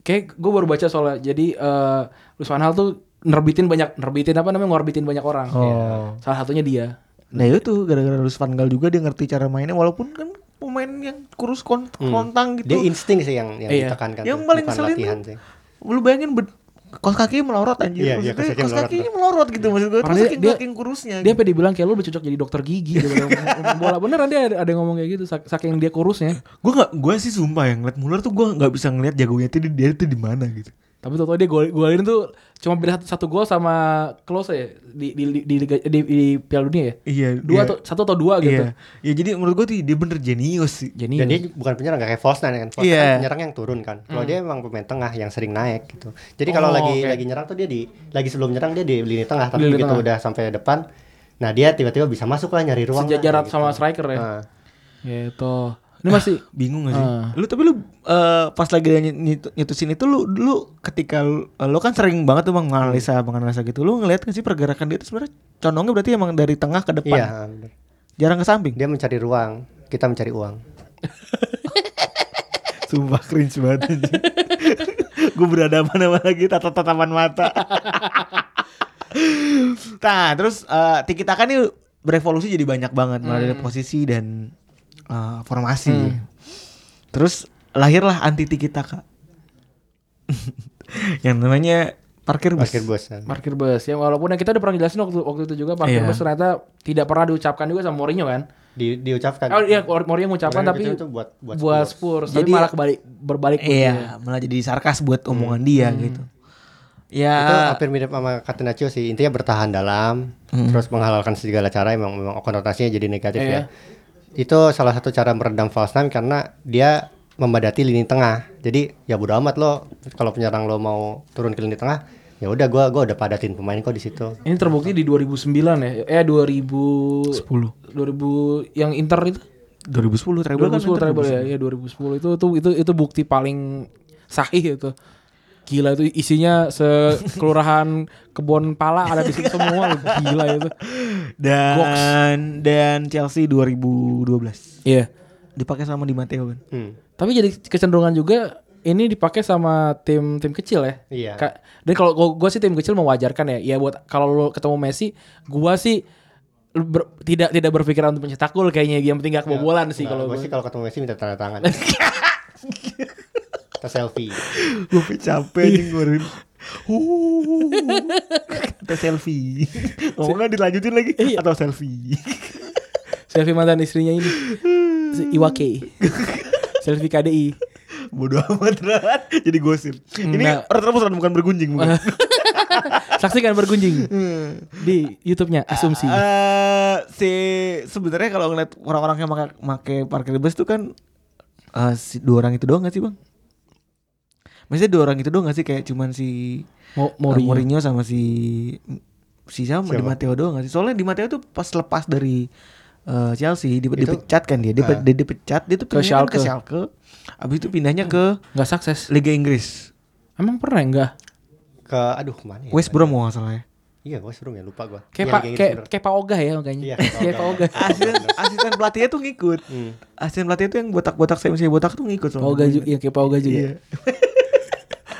Kayak gue baru baca soalnya. Jadi eh Luis Van Gaal tuh nerbitin banyak nerbitin apa namanya ngorbitin banyak orang. Iya.
Oh.
Salah satunya dia.
Nah itu gara-gara Lutz Van Gaal juga dia ngerti cara mainnya walaupun kan pemain yang kurus kon-
Hmm.
kontang gitu.
Hmm. dia insting sih yang yang
Iya.
ditekankan
yang
tuh,
paling
bukan
selin
latihan sih
lu bayangin bed- kos kaki melorot anjir
Iya, iya,
Maksudnya
kos kaki
kos
melorot.
kakinya melorot gitu maksud gue terus
Padahal
saking
dia-
saking kurusnya
Dia
gitu.
sampai dibilang kayak lu lebih cocok jadi dokter gigi daripada ngomong bola. Beneran dia ada, ada yang ngomong kayak gitu sak- saking dia kurusnya.
gue nggak gue sih sumpah yang ngeliat Muller tuh gue nggak bisa ngeliat jagonya tuh dia, dia tuh di mana gitu
Tapi tau dia gol golin tuh cuma beda satu, satu gol sama Klose ya di di di, di, Liga- di- di Piala Dunia ya.
iya
Dua
iya,
atau satu atau dua gitu.
iya ya jadi menurut gue tuh dia bener jenius sih
Jadi
dan dia bukan penyerang gak kayak Fosnan kan Fosnan
Iya.
kan penyerang yang turun kan kalau dia emang pemain tengah yang sering naik gitu jadi kalau
Hmm. Oh,
lagi
oke.
lagi nyerang tuh dia di lagi sebelum nyerang dia di lini tengah tapi
Lini
begitu
tengah.
udah sampai depan nah dia tiba-tiba bisa masuk lah nyari ruang lah,
sejajaran
gitu.
sama striker ya.
Ah.
Nah,
Gitu. Ini masih
bingung gak sih
Ah.
lu tapi lu eh, pas lagi dia nyet- nyet- nyetusin itu lu lu ketika lu, lu kan sering banget tuh menganalisa menganalisa gitu lu ngeliat gak sih pergerakan dia tuh sebenarnya condongnya berarti emang dari tengah ke depan
Iya, bener.
jarang ke samping
dia mencari ruang, kita mencari uang.
Sumpah cringe banget anjing. Gue berhadapan sama lagi tatap-tatapan mata Nah terus eh Tiki Taka nih berevolusi jadi banyak banget Mulai dari posisi dan eh, formasi Terus lahirlah anti Tiki Taka Yang namanya parkir bus
Parkir bus. kan.
parkir bus ya walaupun yang kita udah pernah jelasin waktu waktu itu juga parkir
Iya.
bus ternyata tidak pernah diucapkan juga sama Mourinho kan.
Di, diucapkan.
Oh iya Mourinho mengucapkan
Mourinho
tapi
itu tuh buat- buat
Spurs,
Jadi- ya-
tapi malah kebalik berbalik ya.
Iya malah jadi sarkas buat omongan dia gitu Ya
Itu
Ah.
hampir mirip sama Catenaccio sih. Intinya bertahan dalam, terus menghalalkan segala cara. Emang memang konotasinya jadi negatif
Hmm. Iya.
ya. Itu salah satu cara meredam false nine karena dia membadati lini tengah. Jadi ya bodo amat lo kalau penyerang lo mau turun ke lini tengah, ya udah gua gua udah padatin pemain kok di situ.
Ini terbukti di 2009 ya. Eh 2000
10
2000 yang Inter itu
2010 treble kan
2010
Inter
treble ya, ya 2010 itu itu itu itu bukti paling sahih itu. Gila itu isinya sekelurahan kebon pala ada di situ semua gila itu.
dan
Goks.
dan Chelsea 2012
Iya.
dipakai sama di Matteo kan
Hmm.
Tapi jadi kecenderungan juga ini dipakai sama tim tim kecil ya.
Iya.
Ka- Dan kalau gua, gua sih tim kecil mewajarkan ya. Ya buat kalau lo ketemu Messi, gua sih lu ber- tidak tidak berpikiran untuk mencetak gol kayaknya. Yang penting gak kebobolan sih
Nah,
kalau
gua
gua.
sih kalau ketemu Messi minta tanda tangan. Kita selfie.
Gue capek anjing gue Atau selfie Ngomongnya dilanjutin lagi
Iya.
Atau selfie
Selfie mantan istrinya ini. Si Iwake. Selfie KDI.
Bodoh amat Rat Jadi gosip Ini
Nah.
terus bukan bergunjing bukan? Hmm.
Saksikan bergunjing di YouTube-nya Asumsi.
Ah,
Eh, si sebenarnya kalau ngeliat orang-orang yang make, make parkir bus tuh kan eh, si dua orang itu doang gak sih bang? Maksudnya dua orang itu doang gak sih kayak cuman si eh,
Mo-
Mourinho
Mourinho.
sama si si siapa, Di
Siapa?
Matteo doang gak sih? Soalnya Di Matteo tuh pas lepas dari eh, Chelsea di,
Itu-
dipecat kan dia, dia,
Ah.
dia dipecat dia tuh
Ke
pindahnya kan ke
Schalke.
Schalke. Abis itu pindahnya ke
Nggak sukses.
Liga Inggris.
Emang pernah ya? enggak?
Ke aduh kemana ya?
West Brom kalau nggak salah ya.
Iya, West Brom ya lupa gua.
Kayak
Iya,
Pak
Liga Inggris
kayak
bener.
kayak Pak Ogah ya makanya.
Iya,
kayak Pak Ogah.
asisten asisten pelatihnya tuh ngikut
Hmm.
asisten pelatih tuh yang botak-botak saya misalnya botak tuh ngikut
Pak Ogah juga, ya, kayak Pak Ogah juga.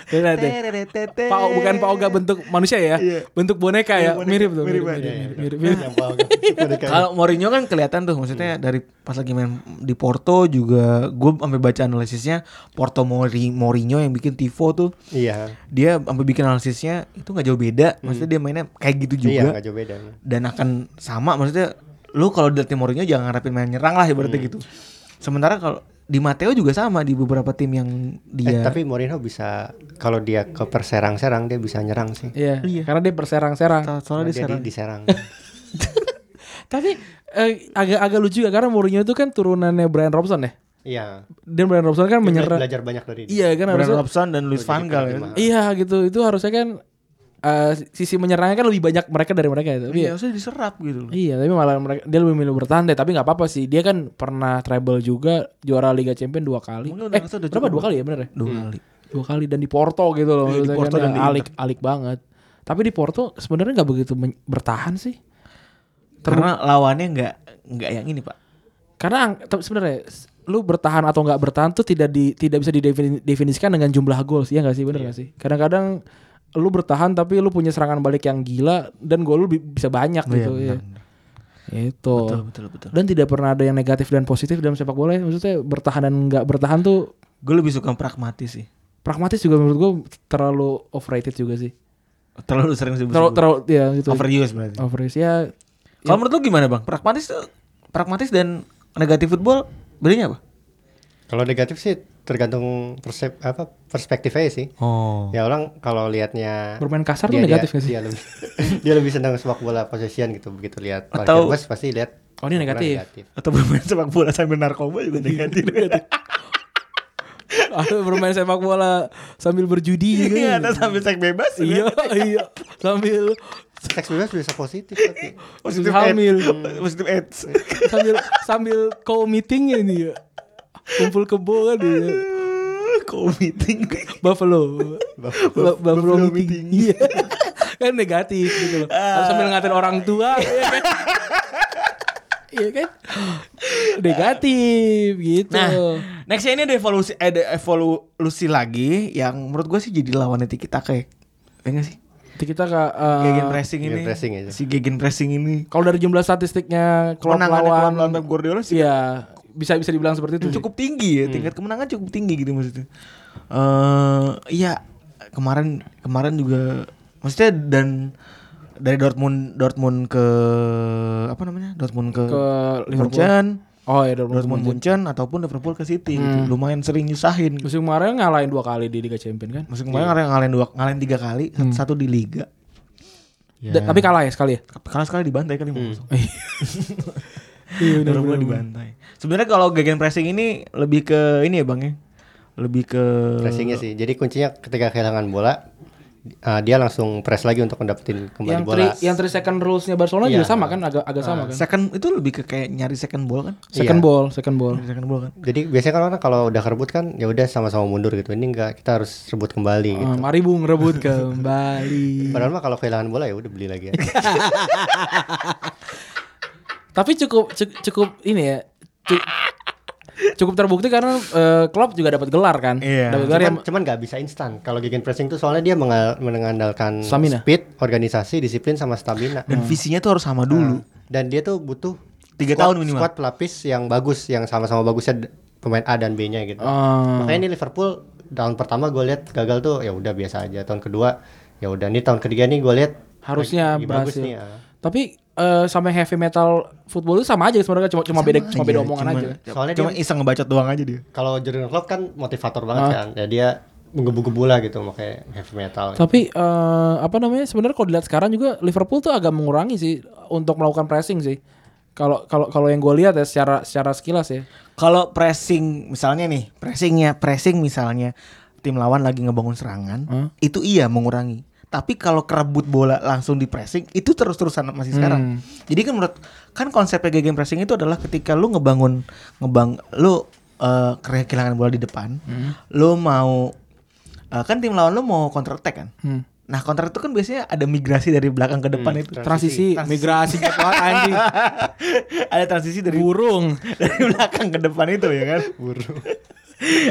Iya.
Bener deh. Pak O- bukan Pak Ogah bentuk manusia ya,
Iya.
bentuk boneka ya,
Boneka,
mirip tuh.
mirip banget.
Mirip, mirip,
Iya, iya,
mirip,
bener.
mirip.
Yang bawah gua. Ada kayak-
kalau Mourinho kan kelihatan tuh maksudnya dari pas lagi main di Porto juga gue sampai baca analisisnya Porto Mori- Mourinho yang bikin tifo tuh
Iya.
dia sampai bikin analisisnya itu nggak jauh beda maksudnya dia mainnya kayak gitu
Iya,
juga
enggak jauh beda.
dan akan sama maksudnya lu kalau dari tim Mourinho jangan harapin main nyerang lah ibaratnya gitu sementara kalau di Mateo juga sama di beberapa tim yang
Eh,
dia
Iya.
tapi Mourinho bisa kalau dia ke perserang-serang dia bisa nyerang sih.
Iya, karena dia
So-
berserang-serang.
Karena
soalnya dia
dia
serang.
di- diserang.
Tapi eh, agak-agak lucu ya karena Mourinho itu kan turunannya Brian Robson ya.
Iya.
Dan Brian Robson kan
Dia
menyerang.
Belajar banyak dari dia.
Iya
Brian
kan harusnya.
Robson dan Luis Van Gaal ya.
Iya.
Iya gitu. Itu harusnya kan eh, sisi menyerangnya kan lebih banyak mereka dari mereka ya. Tapi
Iya,
ya-
harusnya diserap gitu loh.
Iya, tapi malah mereka dia lebih milih bertahan deh. Tapi nggak apa-apa sih. Dia kan pernah treble juga, juara Liga Champion dua kali.
Mungkin udah
eh,
ngerasa udah
berapa
cukup.
dua kali ya bener ya?
Dua kali.
Dua kali dan di Porto gitu loh.
Iya, di
maksudnya
Porto
kan
dan di
alik alik banget. Tapi di Porto sebenarnya nggak begitu men- bertahan sih.
Karena lawannya nggak nggak yang ini pak.
Karena ang- tapi sebenarnya s- lu bertahan atau nggak bertahan tuh tidak di tidak bisa didefinisikan dengan jumlah gol sih ya nggak sih
Iya.
bener nggak sih? Kadang-kadang lu bertahan tapi lu punya serangan balik yang gila dan gol lu bi- bisa banyak gitu ya. Itu.
Iya, Betul betul betul.
dan tidak pernah ada yang negatif dan positif dalam sepak bola ya. maksudnya bertahan dan nggak bertahan tuh
Gue lebih suka pragmatis sih.
pragmatis juga menurut gue terlalu overrated juga sih
Terlalu sering disebut.
terlalu terlalu ya gitu
overuse berarti.
overuse ya
Kalau menurut lu gimana bang? Pragmatis tuh pragmatis dan negatif football bedanya apa?
Kalau negatif sih tergantung persep, apa perspektifnya sih.
Oh.
Ya orang kalau lihatnya
bermain kasar tuh
dia- dia,
negatif nggak sih
Dia lebih, dia lebih senang sepak bola possession gitu begitu lihat parkir
Atau-
bus pasti lihat
Oh,
sepak bola
ini negatif.
Atau bermain sepak bola sambil narkoba juga negatif.
Atau bermain sepak bola sambil berjudi juga
Iya, atau sambil seks bebas. juga.
iya iya sambil
Seks bebas bisa positif
Eh.
tapi
Positif
Hamil.
AIDS. Positif AIDS.
sambil sambil co meeting ya dia kumpul kebo kan dia
Komiting.
Buffalo Buffalo, Buffalo meeting, Iya. kan negatif gitu loh
Ah.
Kalau sambil ngatain orang tua ya kan iya kan negatif gitu
Nah, nextnya ini ada evolusi ada evolusi lagi yang menurut gue sih jadi lawannya Tiki Taka ya. Ya nggak sih?
Jadi kita ke eh,
Gegen pressing
gegen
ini.
pressing aja.
Si gegen pressing ini.
kalau dari jumlah statistiknya klub
Kemenangannya
lawan
lawan Pep Guardiola sih
iya bisa bisa dibilang seperti itu
cukup tinggi ya, tingkat kemenangan cukup tinggi gitu maksudnya. Eh iya, kemarin kemarin juga maksudnya dan dari Dortmund Dortmund ke apa namanya? Dortmund ke,
ke Liverpool
Munchen,
oh ya
Dortmund
Dortmund
Munchen ataupun Liverpool ke City gitu. Lumayan sering nyusahin gitu.
musim kemarin ngalahin dua kali di Liga Champions kan
Musim kemarin ngalahin ngalahin dua ngalahin tiga kali, satu- satu di liga.
Da- tapi kalah ya sekali ya
Kalah sekali dibantai kali hmm.
iya
Baru mulai dibantai. Sebenarnya kalau gegen pressing ini lebih ke ini ya bang ya, lebih ke
pressingnya sih. Jadi kuncinya ketika kehilangan bola eh, dia langsung press lagi untuk mendapatkan kembali
yang
bola.
three, yang three second rules-nya Barcelona
Iya.
juga sama kan agak agak
Ah,
sama kan
second itu lebih ke kayak nyari second ball kan?
second ball second ball
Nyari second ball kan?
Jadi biasanya kan orang kalau udah kerebut kan ya udah sama-sama mundur gitu. Ini enggak kita harus rebut kembali gitu.
Ah, mari bung rebut kembali.
Padahal mah kalau kehilangan bola ya udah beli lagi. aja.
Tapi cukup cu- cukup ini ya. cu- cukup terbukti karena eh, Klopp juga dapat gelar kan.
Iya.
Dapat gelar yang
Cuman, cuman nggak bisa instan. Kalau gegen pressing tuh soalnya dia mengal- mengandalkan
Stamina.
speed, organisasi, disiplin sama stamina.
Hmm.
Dan visinya tuh harus sama dulu.
Dan dia tuh butuh
Tiga
squad-
tahun minimal.
Squad pelapis yang bagus, yang sama-sama bagusnya d- pemain A dan B-nya gitu.
Ah.
Makanya ini Liverpool tahun pertama gue lihat gagal tuh ya udah biasa aja. Tahun kedua ya udah nih tahun ketiga nih gue lihat
harusnya
lagi
berhasil.
bagus nih. ah.
Tapi eh, sama heavy metal football itu sama aja sebenarnya cuma cuma beda cuma beda omongan aja.
Soalnya
Soalnya Hmm. Iya, cuma
dia-
iseng ngebacot doang aja dia.
Kalau Jurgen Klopp kan motivator banget
Ah.
kan. Ya dia menggebu-gebu lah gitu makanya heavy metal.
Tapi eh, apa namanya sebenarnya kalau dilihat sekarang juga Liverpool tuh agak mengurangi sih untuk melakukan pressing sih. Kalau kalau kalau yang gue lihat ya secara secara sekilas ya.
Kalau pressing misalnya nih, pressingnya pressing misalnya tim lawan lagi ngebangun serangan, itu iya mengurangi. Tapi kalau kerebut bola langsung di pressing itu terus-terusan masih sekarang. Jadi kan menurut kan konsepnya game pressing itu adalah ketika lu ngebangun ngebang lu eh, kere- kehilangan bola di depan, lu mau eh, kan tim lawan lu mau counter attack kan. Nah, counter itu kan biasanya ada migrasi dari belakang ke depan itu.
Transisi,
Transisi.
migrasi jadwal anjing.
ada transisi dari
Burung.
dari belakang ke depan itu ya kan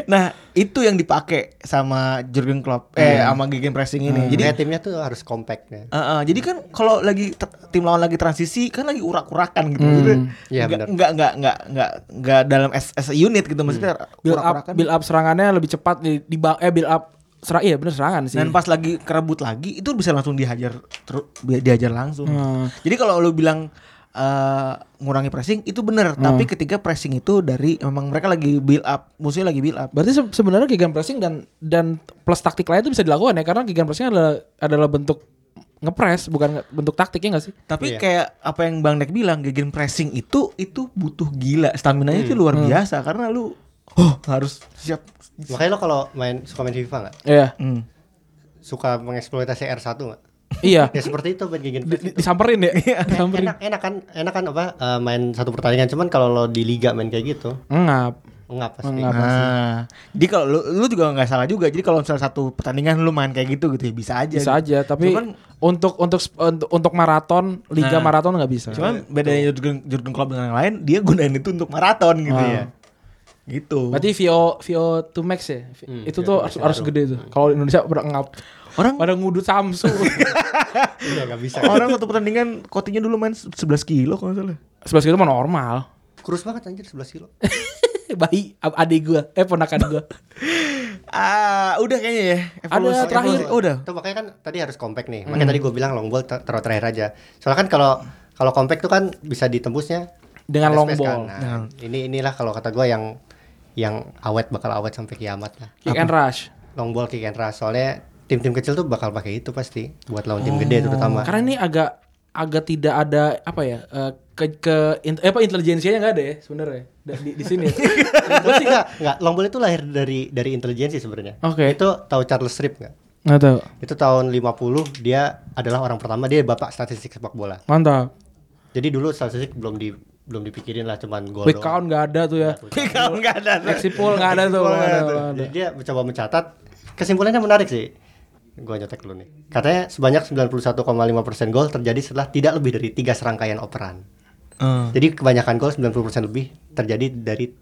nah itu yang dipakai sama Jurgen Klopp eh sama Gegen pressing ini jadi
Jadi timnya tuh harus compact ya.
eh, eh, jadi kan kalau lagi te- tim lawan lagi transisi kan lagi urak-urakan gitu Maksudnya
Iya,
nggak
benar.
nggak nggak nggak nggak nggak dalam as, as a unit gitu maksudnya
Build up
urak-urakan
build up serangannya lebih cepat di, di eh build up serang iya bener serangan sih.
dan pas lagi kerebut lagi itu bisa langsung dihajar teru- bi- dihajar langsung
Hmm.
jadi kalau lu bilang eh, ngurangi pressing itu bener tapi ketika pressing itu dari memang mereka lagi build up musuhnya lagi build up
Berarti se- sebenarnya gigant pressing dan dan plus taktik lain itu bisa dilakukan ya karena gigant pressing adalah adalah bentuk ngepres bukan nge- bentuk taktiknya enggak sih?
Tapi
Iya.
kayak apa yang Bang Dek bilang, gegen pressing itu itu butuh gila, stamina itu luar biasa karena lu oh harus siap.
Makanya lo kalau main suka main FIFA nggak?
Iya.
Hmm.
Suka mengeksploitasi R1 nggak?
iya.
Ya seperti itu main gegen
Di- Disamperin ya. Disamperin.
enak enak kan enak kan apa eh, main satu pertandingan cuman kalau lo di liga main kayak gitu
Ngap.
ngap pasti
Ngap.
Nah, jadi kalau lu, lu juga nggak salah juga. Jadi kalau misalnya satu pertandingan lu main kayak gitu gitu ya bisa aja.
Bisa aja, tapi
Cuman-
untuk untuk sp- untuk, untuk maraton, liga
Nah.
maraton nggak bisa.
Cuman bedanya Jurgen, Jurgen Klopp dengan yang lain, dia gunain itu untuk maraton gitu
Ah.
ya. Gitu.
Berarti VO VO2 max ya. itu tuh harus, harus gede tuh. Kalau Indonesia pada ngap.
orang
Pada ngudut Samsu.
Iya, nggak bisa
orang satu pertandingan kotinya dulu main 11 kilo kalau nggak salah.
Sebelas kilo mah normal.
kurus banget anjir 11 kilo
Eh, Bayi ab- adik gua, eh ponakan gua.
Ah, udah kayaknya ya.
Ada terakhir. Hmm.
evolusi. Oh, udah.
Tuh, makanya kan tadi harus compact nih makanya tadi gue bilang long ball ter- taruh terakhir aja soalnya kan kalau kalau compact tuh kan bisa ditembusnya
Dengan
ada
long
space
ball.
Nah, ini inilah kalau kata gue yang yang awet bakal awet sampai kiamat lah
Kick and rush.
long ball kick and rush soalnya tim-tim kecil tuh bakal pakai itu pasti buat lawan tim gede terutama
Oh, Karena ini agak agak tidak ada apa ya eh, ke ke in- eh, apa intelijensianya nggak ada ya sebenarnya da- di, di sini. ya?
Terus sih enggak, enggak, long ball itu lahir dari dari intelijensi sebenarnya.
Oke.
Itu tahu Charles Strip enggak?
Nggak tahu.
Itu tahun 50 dia adalah orang pertama dia bapak statistik sepak bola.
Mantap.
Jadi dulu statistik belum di belum dipikirin lah cuman gol.
Quick
doang.
count nggak ada tuh ya.
Kalau nggak ada.
Exit pool nggak ada tuh. nggak ada, nggak ada.
Jadi dia mencoba mencatat kesimpulannya menarik sih. Gua nyetek dulu nih. Katanya sebanyak 91,5% gol terjadi setelah tidak lebih dari tiga serangkaian operan.
Eh.
Jadi kebanyakan gol 90% lebih terjadi dari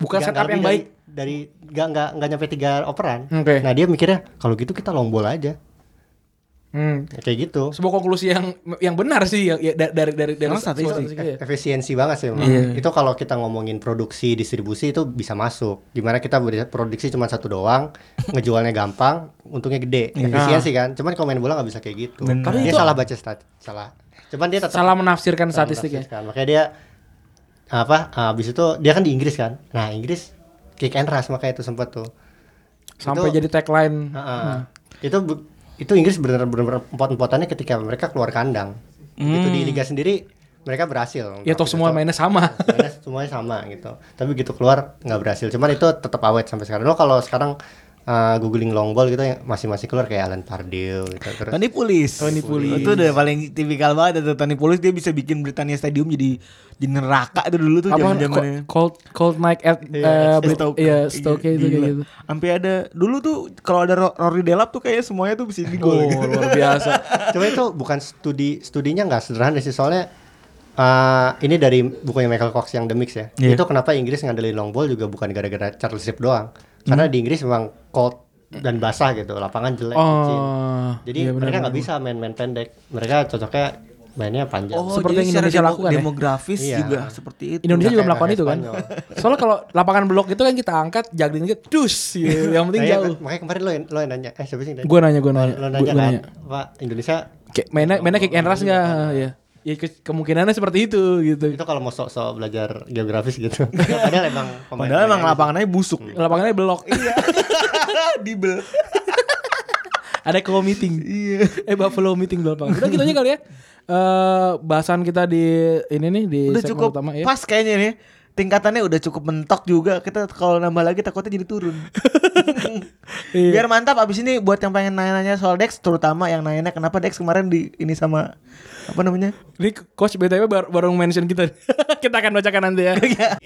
Bukan
nggak- nggak
setup yang
lebih
baik.
dari- dari nggak nggak nggak nyampe tiga operan.
Oke.
Nah dia mikirnya kalau gitu kita long ball aja
Hmm.
kayak gitu.
Sebuah konklusi yang yang benar sih ya, ya, da- dari dari dari
Karena statistik.
statistik ya.
Eh, Efisiensi banget sih. memang. Itu kalau kita ngomongin produksi distribusi itu bisa masuk. Dimana kita beri- produksi cuma satu doang, ngejualnya gampang, untungnya gede. Efisiensi kan. Cuman kalau main bola nggak bisa kayak gitu.
Benar.
Dia
Tapi itu-
salah baca stat, salah. Cuman dia tetap
Salah menafsirkan
Salah
statistik ya.
menafsirkan. Makanya dia apa? Habis itu dia kan di Inggris kan. Nah Inggris kick and rush makanya itu sempat tuh.
Sampai
Itu-
jadi tagline.
Heeh. Itu bu- itu Inggris benar-benar empot-empotannya ketika mereka keluar kandang. Gitu di liga sendiri mereka berhasil.
Hmm. Ya toh
Gitu,
semua
toh
mainnya sama.
mainnya semuanya sama gitu. Tapi gitu keluar nggak berhasil. Cuman itu tetap awet sampai sekarang. Lo kalau sekarang uh, googling long ball gitu yang masih-masih keluar kayak Alan Pardew gitu terus.
Tony Pulis. Tony Pulis. Itu udah paling tipikal banget ada Tony Pulis dia bisa bikin Britania Stadium jadi di neraka itu dulu tuh
Apa
zaman-zamannya.
cold cold night at eh, Brit- iya Stoke itu kayak gitu.
Sampai ada dulu tuh kalau ada Ro- Rory Delap tuh kayaknya semuanya tuh bisa di
Oh,
gol.
luar biasa.
Cuma itu bukan studi studinya nggak sederhana sih soalnya eh, ini dari bukunya Michael Cox yang The Mix ya.
Iya.
Itu kenapa Inggris ngandelin long ball juga bukan gara-gara Charles Strip doang. Karena di Inggris memang cold dan basah gitu, lapangan jelek, licin.
Hmm. Oh,
Jadi
iya benar,
mereka nggak
benar.
bisa main-main pendek. Mereka cocoknya mainnya panjang.
Oh, jadi
Seperti yang
secara
Indonesia
demo-
lakukan ya?
Demografis
Iya.
juga seperti itu.
Indonesia
Nggak
juga
kayak
melakukan itu kan.
Spanyol.
Soalnya kalau lapangan blok itu kan kita angkat, jagling dikit, dus gitu. Yang penting
Nah, iya,
jauh.
makanya kemarin lo yang, lo yang nanya, eh siapa sih? yang nanya?
Gua nanya, gua
Lo-
nanya.
Lo
Gua-
nanya
gua
kan,
nanya.
Pak Indonesia
Kayak mainnya
Iya.
mainnya kick and rush enggak? Ya. Ya ke- kemungkinannya seperti itu gitu.
itu kalau mau sok-sok belajar geografis gitu. Padahal emang pemain-
Padahal emang lapangannya busuk.
Lapangannya blok.
Iya.
Iya. Di bel.
Ada co meeting. Iya. Eh Buffalo meeting di lapangan. Udah gitu aja kali ya. Eh bahasan kita di ini nih di
Udah
segmen
cukup
utama ya.
pas kayaknya nih. Tingkatannya udah cukup mentok juga. Kita kalau nambah lagi takutnya jadi turun.
Iya.
Biar mantap abis ini buat yang pengen nanya-nanya soal Dex terutama yang nanya kenapa Dex kemarin di ini sama apa namanya?
Ini coach BTW baru, baru mention kita. kita akan bacakan nanti ya.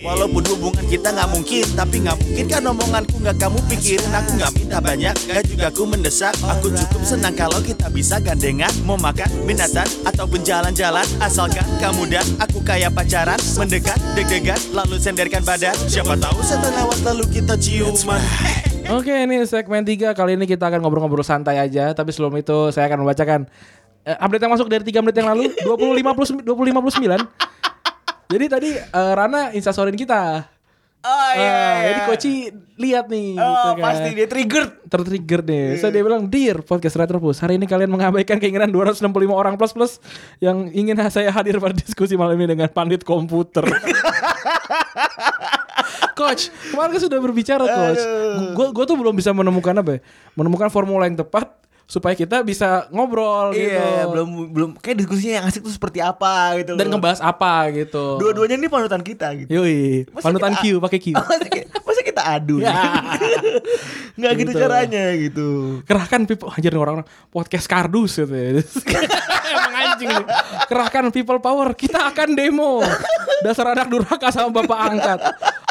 Walaupun hubungan kita nggak mungkin, tapi nggak mungkin kan omonganku nggak kamu pikirin. Aku nggak minta banyak, nggak juga aku mendesak. Aku cukup senang kalau kita bisa gandengan, mau makan binatang ataupun jalan-jalan. Asalkan kamu dan aku kayak pacaran, mendekat, deg-degan, lalu senderkan badan. Siapa tahu setelah lewat lalu kita ciuman.
Oke, ini segmen 3 kali ini kita akan ngobrol-ngobrol santai aja, tapi sebelum itu saya akan membacakan eh, update yang masuk dari 3 menit yang lalu 25 plus 25 plus 9. Jadi tadi eh, Rana instastorin kita.
Oh
Ah, Jadi Koci lihat nih gitu kan.
pasti dia triggered.
tertrigger nih.
Iya.
So dia bilang, "Dear podcast Retropus, hari ini kalian mengabaikan keinginan 265 orang plus-plus yang ingin saya hadir pada diskusi malam ini dengan pandit komputer." Coach, kemarin kan sudah berbicara coach. Gue gue tuh belum bisa menemukan apa ya? Menemukan formula yang tepat supaya kita bisa ngobrol gitu.
Iya, belum belum kayak diskusinya yang asik tuh seperti apa gitu.
Dan
loh.
ngebahas apa gitu.
dua-duanya ini panutan kita gitu.
Yoi,
Masa
panutan
kita- Oh,
Q pakai Q.
masa kita, masa kita adu gitu.
Ya.
nggak Iya. gitu.
Gitu.
caranya gitu
kerahkan people hajar nih orang-orang podcast kardus gitu ya. Emang anjing nih. Kerahkan people power, kita akan demo. Dasar anak durhaka sama bapak angkat.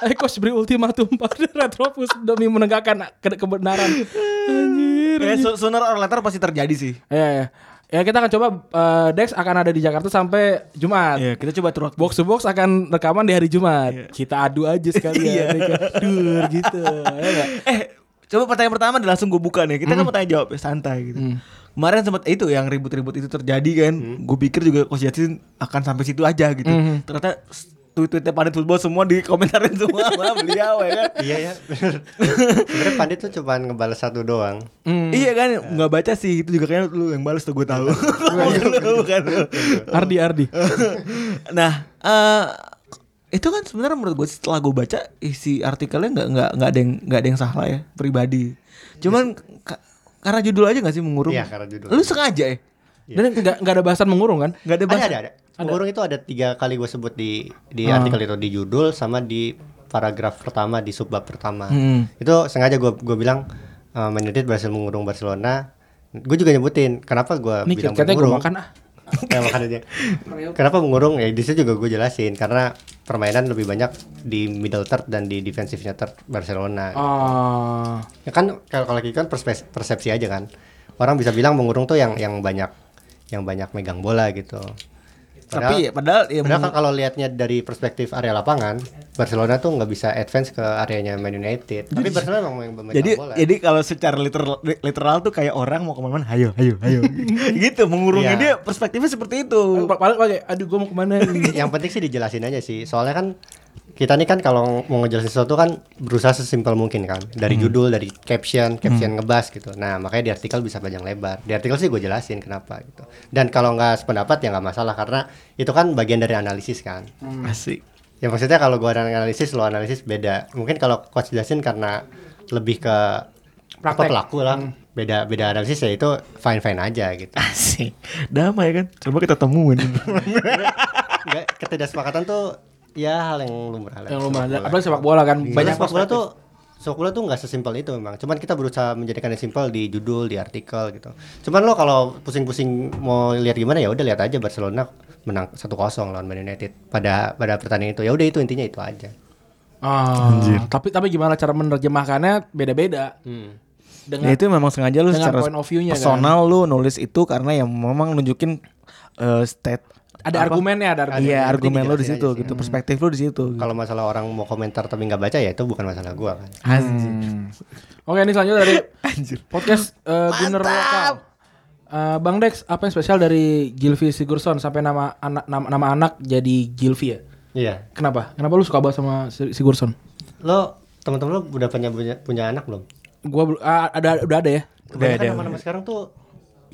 Ayo coach beri ultimatum pada Retropus demi menegakkan ke- kebenaran. Anjir.
ya, so- sooner or later pasti terjadi sih
Ya, ya. ya kita akan coba eh, Dex akan ada di Jakarta sampai Jumat.
Iya, kita coba terus
Box to box akan rekaman di hari Jumat. Kita adu aja sekalian. ya kan? Dur gitu. Ya nggak?
eh coba pertanyaan pertama dan langsung gue buka nih
Mm-hmm.
kita kan mau tanya jawab ya, santai gitu
Mm.
kemarin sempat itu yang ribut-ribut itu terjadi kan gue pikir juga coach Yatsin akan sampai situ aja gitu
Mm-hmm.
ternyata s- tweet-tweetnya pada football semua dikomentarin semua sama beliau ya kan
Iya ya. bener. Sebenarnya Pandit tuh cuma ngebales satu doang.
Iya kan, nggak baca sih itu juga kayaknya lu yang balas tuh gue tahu.
Iya.
Bukan lu, bukan lu.
Ardi Ardi.
Nah, eh itu kan sebenarnya menurut gue setelah gue baca isi artikelnya nggak nggak nggak ada yang nggak ada yang salah ya pribadi. Cuman ka- karena judul aja nggak sih mengurung.
Iya, karena judul.
Lu sengaja ya?
Dan nggak nggak ada bahasan mengurung kan?
Nggak ada
Ada
bahasa.
ada ada. Pengurung itu ada tiga kali gue sebut di di
Ah.
artikel itu di judul sama di paragraf pertama di subbab pertama.
Hmm.
Itu sengaja gue gue bilang uh, Man United berhasil mengurung Barcelona. Gue juga nyebutin kenapa gue
Nih
bilang
katanya gue
mengurung.
makan ah.
Ya, makan aja. Kenapa mengurung? Ya di situ juga gue jelasin karena permainan lebih banyak di middle third dan di defensifnya third Barcelona.
Ah.
Ya kan kalau kalau gitu kan perspe- persepsi aja kan. Orang bisa bilang mengurung tuh yang yang banyak yang banyak megang bola gitu. Padahal,
Tapi ya, padahal ya
padahal kan
meng-
kalau lihatnya dari perspektif area lapangan, Barcelona tuh nggak bisa advance ke areanya Man United. Tapi Barcelona memang yang memegang
jadi
bola.
jadi kalau secara literal, literal tuh kayak orang mau kemana-mana, ayo ayo ayo. gitu mengurungnya
Iya.
dia perspektifnya seperti itu.
Paling pakai aduh gue mau kemana nih.
yang penting sih dijelasin aja sih. Soalnya kan kita nih kan kalau mau ngejelasin sesuatu kan berusaha sesimpel mungkin kan. Dari judul, dari caption, caption ngebas gitu. Nah makanya di artikel bisa panjang lebar. Di artikel sih gue jelasin kenapa gitu. Dan kalau nggak sependapat ya nggak masalah karena itu kan bagian dari analisis kan.
Asik.
Ya maksudnya kalau gue analisis, lo analisis beda. Mungkin kalau coach jelasin karena lebih ke apa,
Praktek.
pelaku lah. Beda beda analisis ya itu fine fine aja gitu.
Asik. Damai kan? Coba kita temuin.
Nggak, ketidaksepakatan tuh ya hal yang lumrah lah. Gitu.
Yang rumah ada.
Sepak bola.
Apalagi sepak bola kan.
Iya.
banyak sepak bola tuh sepak bola tuh nggak sesimpel itu memang cuman kita berusaha menjadikan yang simpel di judul di artikel gitu cuman lo kalau pusing-pusing mau lihat gimana ya udah lihat aja Barcelona menang 1-0 lawan Man United pada pada pertandingan itu ya udah itu intinya itu aja
Ah, Tapi tapi gimana cara menerjemahkannya beda-beda.
Ya
Dengan
itu memang sengaja lu
dengan
secara
kan.
point of view-nya
personal lu nulis itu karena ya memang nunjukin eh, state
Ada argumennya, ada argumen.
Iya,
yang penting
argumen lo di
dijelasin
situ
aja sih.
gitu, perspektif lo di situ. gitu.
Iya. Kalau masalah orang mau komentar tapi nggak baca ya itu bukan masalah gua kan.
Hmm. Oke, ini selanjutnya dari podcast eh, Gunner Lokal. Eh, Bang Dex, apa yang spesial dari Gilvi Sigurdsson sampai nama anak nama, nama anak jadi Gilvi ya?
Iya.
Kenapa? Kenapa lu suka banget sama Si- Sigurdsson?
Lo teman-teman lo udah punya punya, punya anak belum?
Gua bel- ah, ada udah ada ya.
Kebanyakan nama-nama sekarang tuh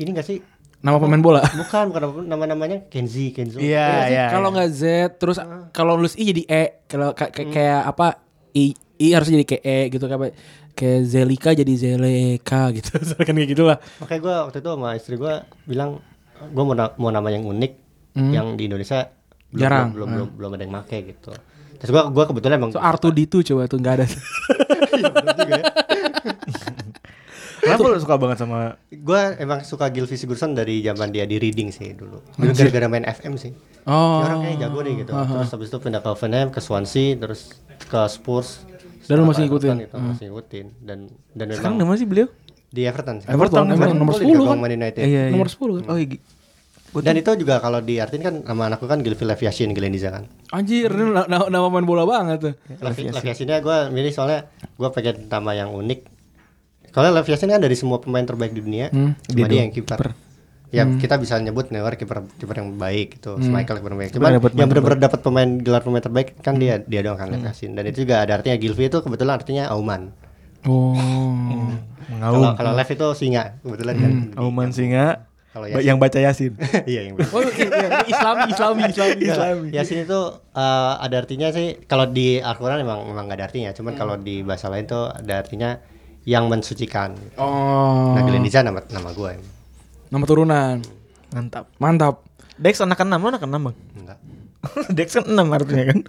ini gak sih?
Nama pemain bola.
Bukan, bukan nama-namanya Kenzi, Kenzo.
Iya, iya.
Kalau nggak Z, terus kalau nulis I jadi E, kalau ka- ka- kayak apa I I harus jadi kayak E gitu kayak kayak Zelika jadi Zeleka gitu. Misalkan kayak gitulah.
Makanya gue waktu itu sama istri gue bilang gue mau, na- mau nama yang unik yang di Indonesia belum,
Hmm. Jarang. Hmm.
belum belum, belum belum ada yang make gitu. Terus gue gua kebetulan emang
So R2D2 coba tuh nggak ada.
Kenapa lo suka banget sama
gue emang suka Gilvi Sigurdsson dari zaman dia di reading sih dulu. Dulu gara-gara main FM sih.
Oh.
Ya, orang kayaknya jago nih gitu. Terus habis itu pindah ke Fulham, ke Swansea, terus ke Spurs.
Dan lu masih
Everton
ngikutin? Hmm.
Itu, masih ngikutin dan dan
sekarang
memang
nama sih beliau?
di Everton sih.
Everton, Everton nomor
Boleh
10 kan?
dikagong Man United.
Nomor 10 kan?
Oh iya. gi-
Dan itu juga kalau diartin kan sama anakku kan Gilvi Lev Yashin Gileniza kan.
Anjir, ini na- na- nama main bola banget tuh.
Lev Lev Yashinnya gue milih soalnya gue pengen nama yang unik. Soalnya Lev Yashin kan dari semua pemain terbaik di dunia, cuma Hmm, dia yang kiper. Ya kita bisa nyebut Neuer kiper kiper yang baik gitu, Michael kiper yang baik. Cuman
dapat
yang benar-benar dapat pemain gelar pemain terbaik kan dia dia doang kan Lev Yashin. Dan itu juga ada artinya Gilvi itu kebetulan artinya auman.
Oh.
Kalau kalau Lev itu singa kebetulan kan.
Auman Singa
Kalau
ba-
Yasin.
yang baca Yasin.
Iya yang benar.
Oh, iya, iya. Islami, Islami, Islami.
Yasin itu eh, ada artinya sih kalau di Al-Qur'an emang emang gak ada artinya, cuman kalau di bahasa lain tuh ada artinya yang mensucikan.
Oh.
Nah, Gleniza nama nama gue emang.
Nama turunan.
Mantap.
Mantap.
Dex anak keenam, lo anak keenam bang?
Enggak.
Dex kan enam artinya kan?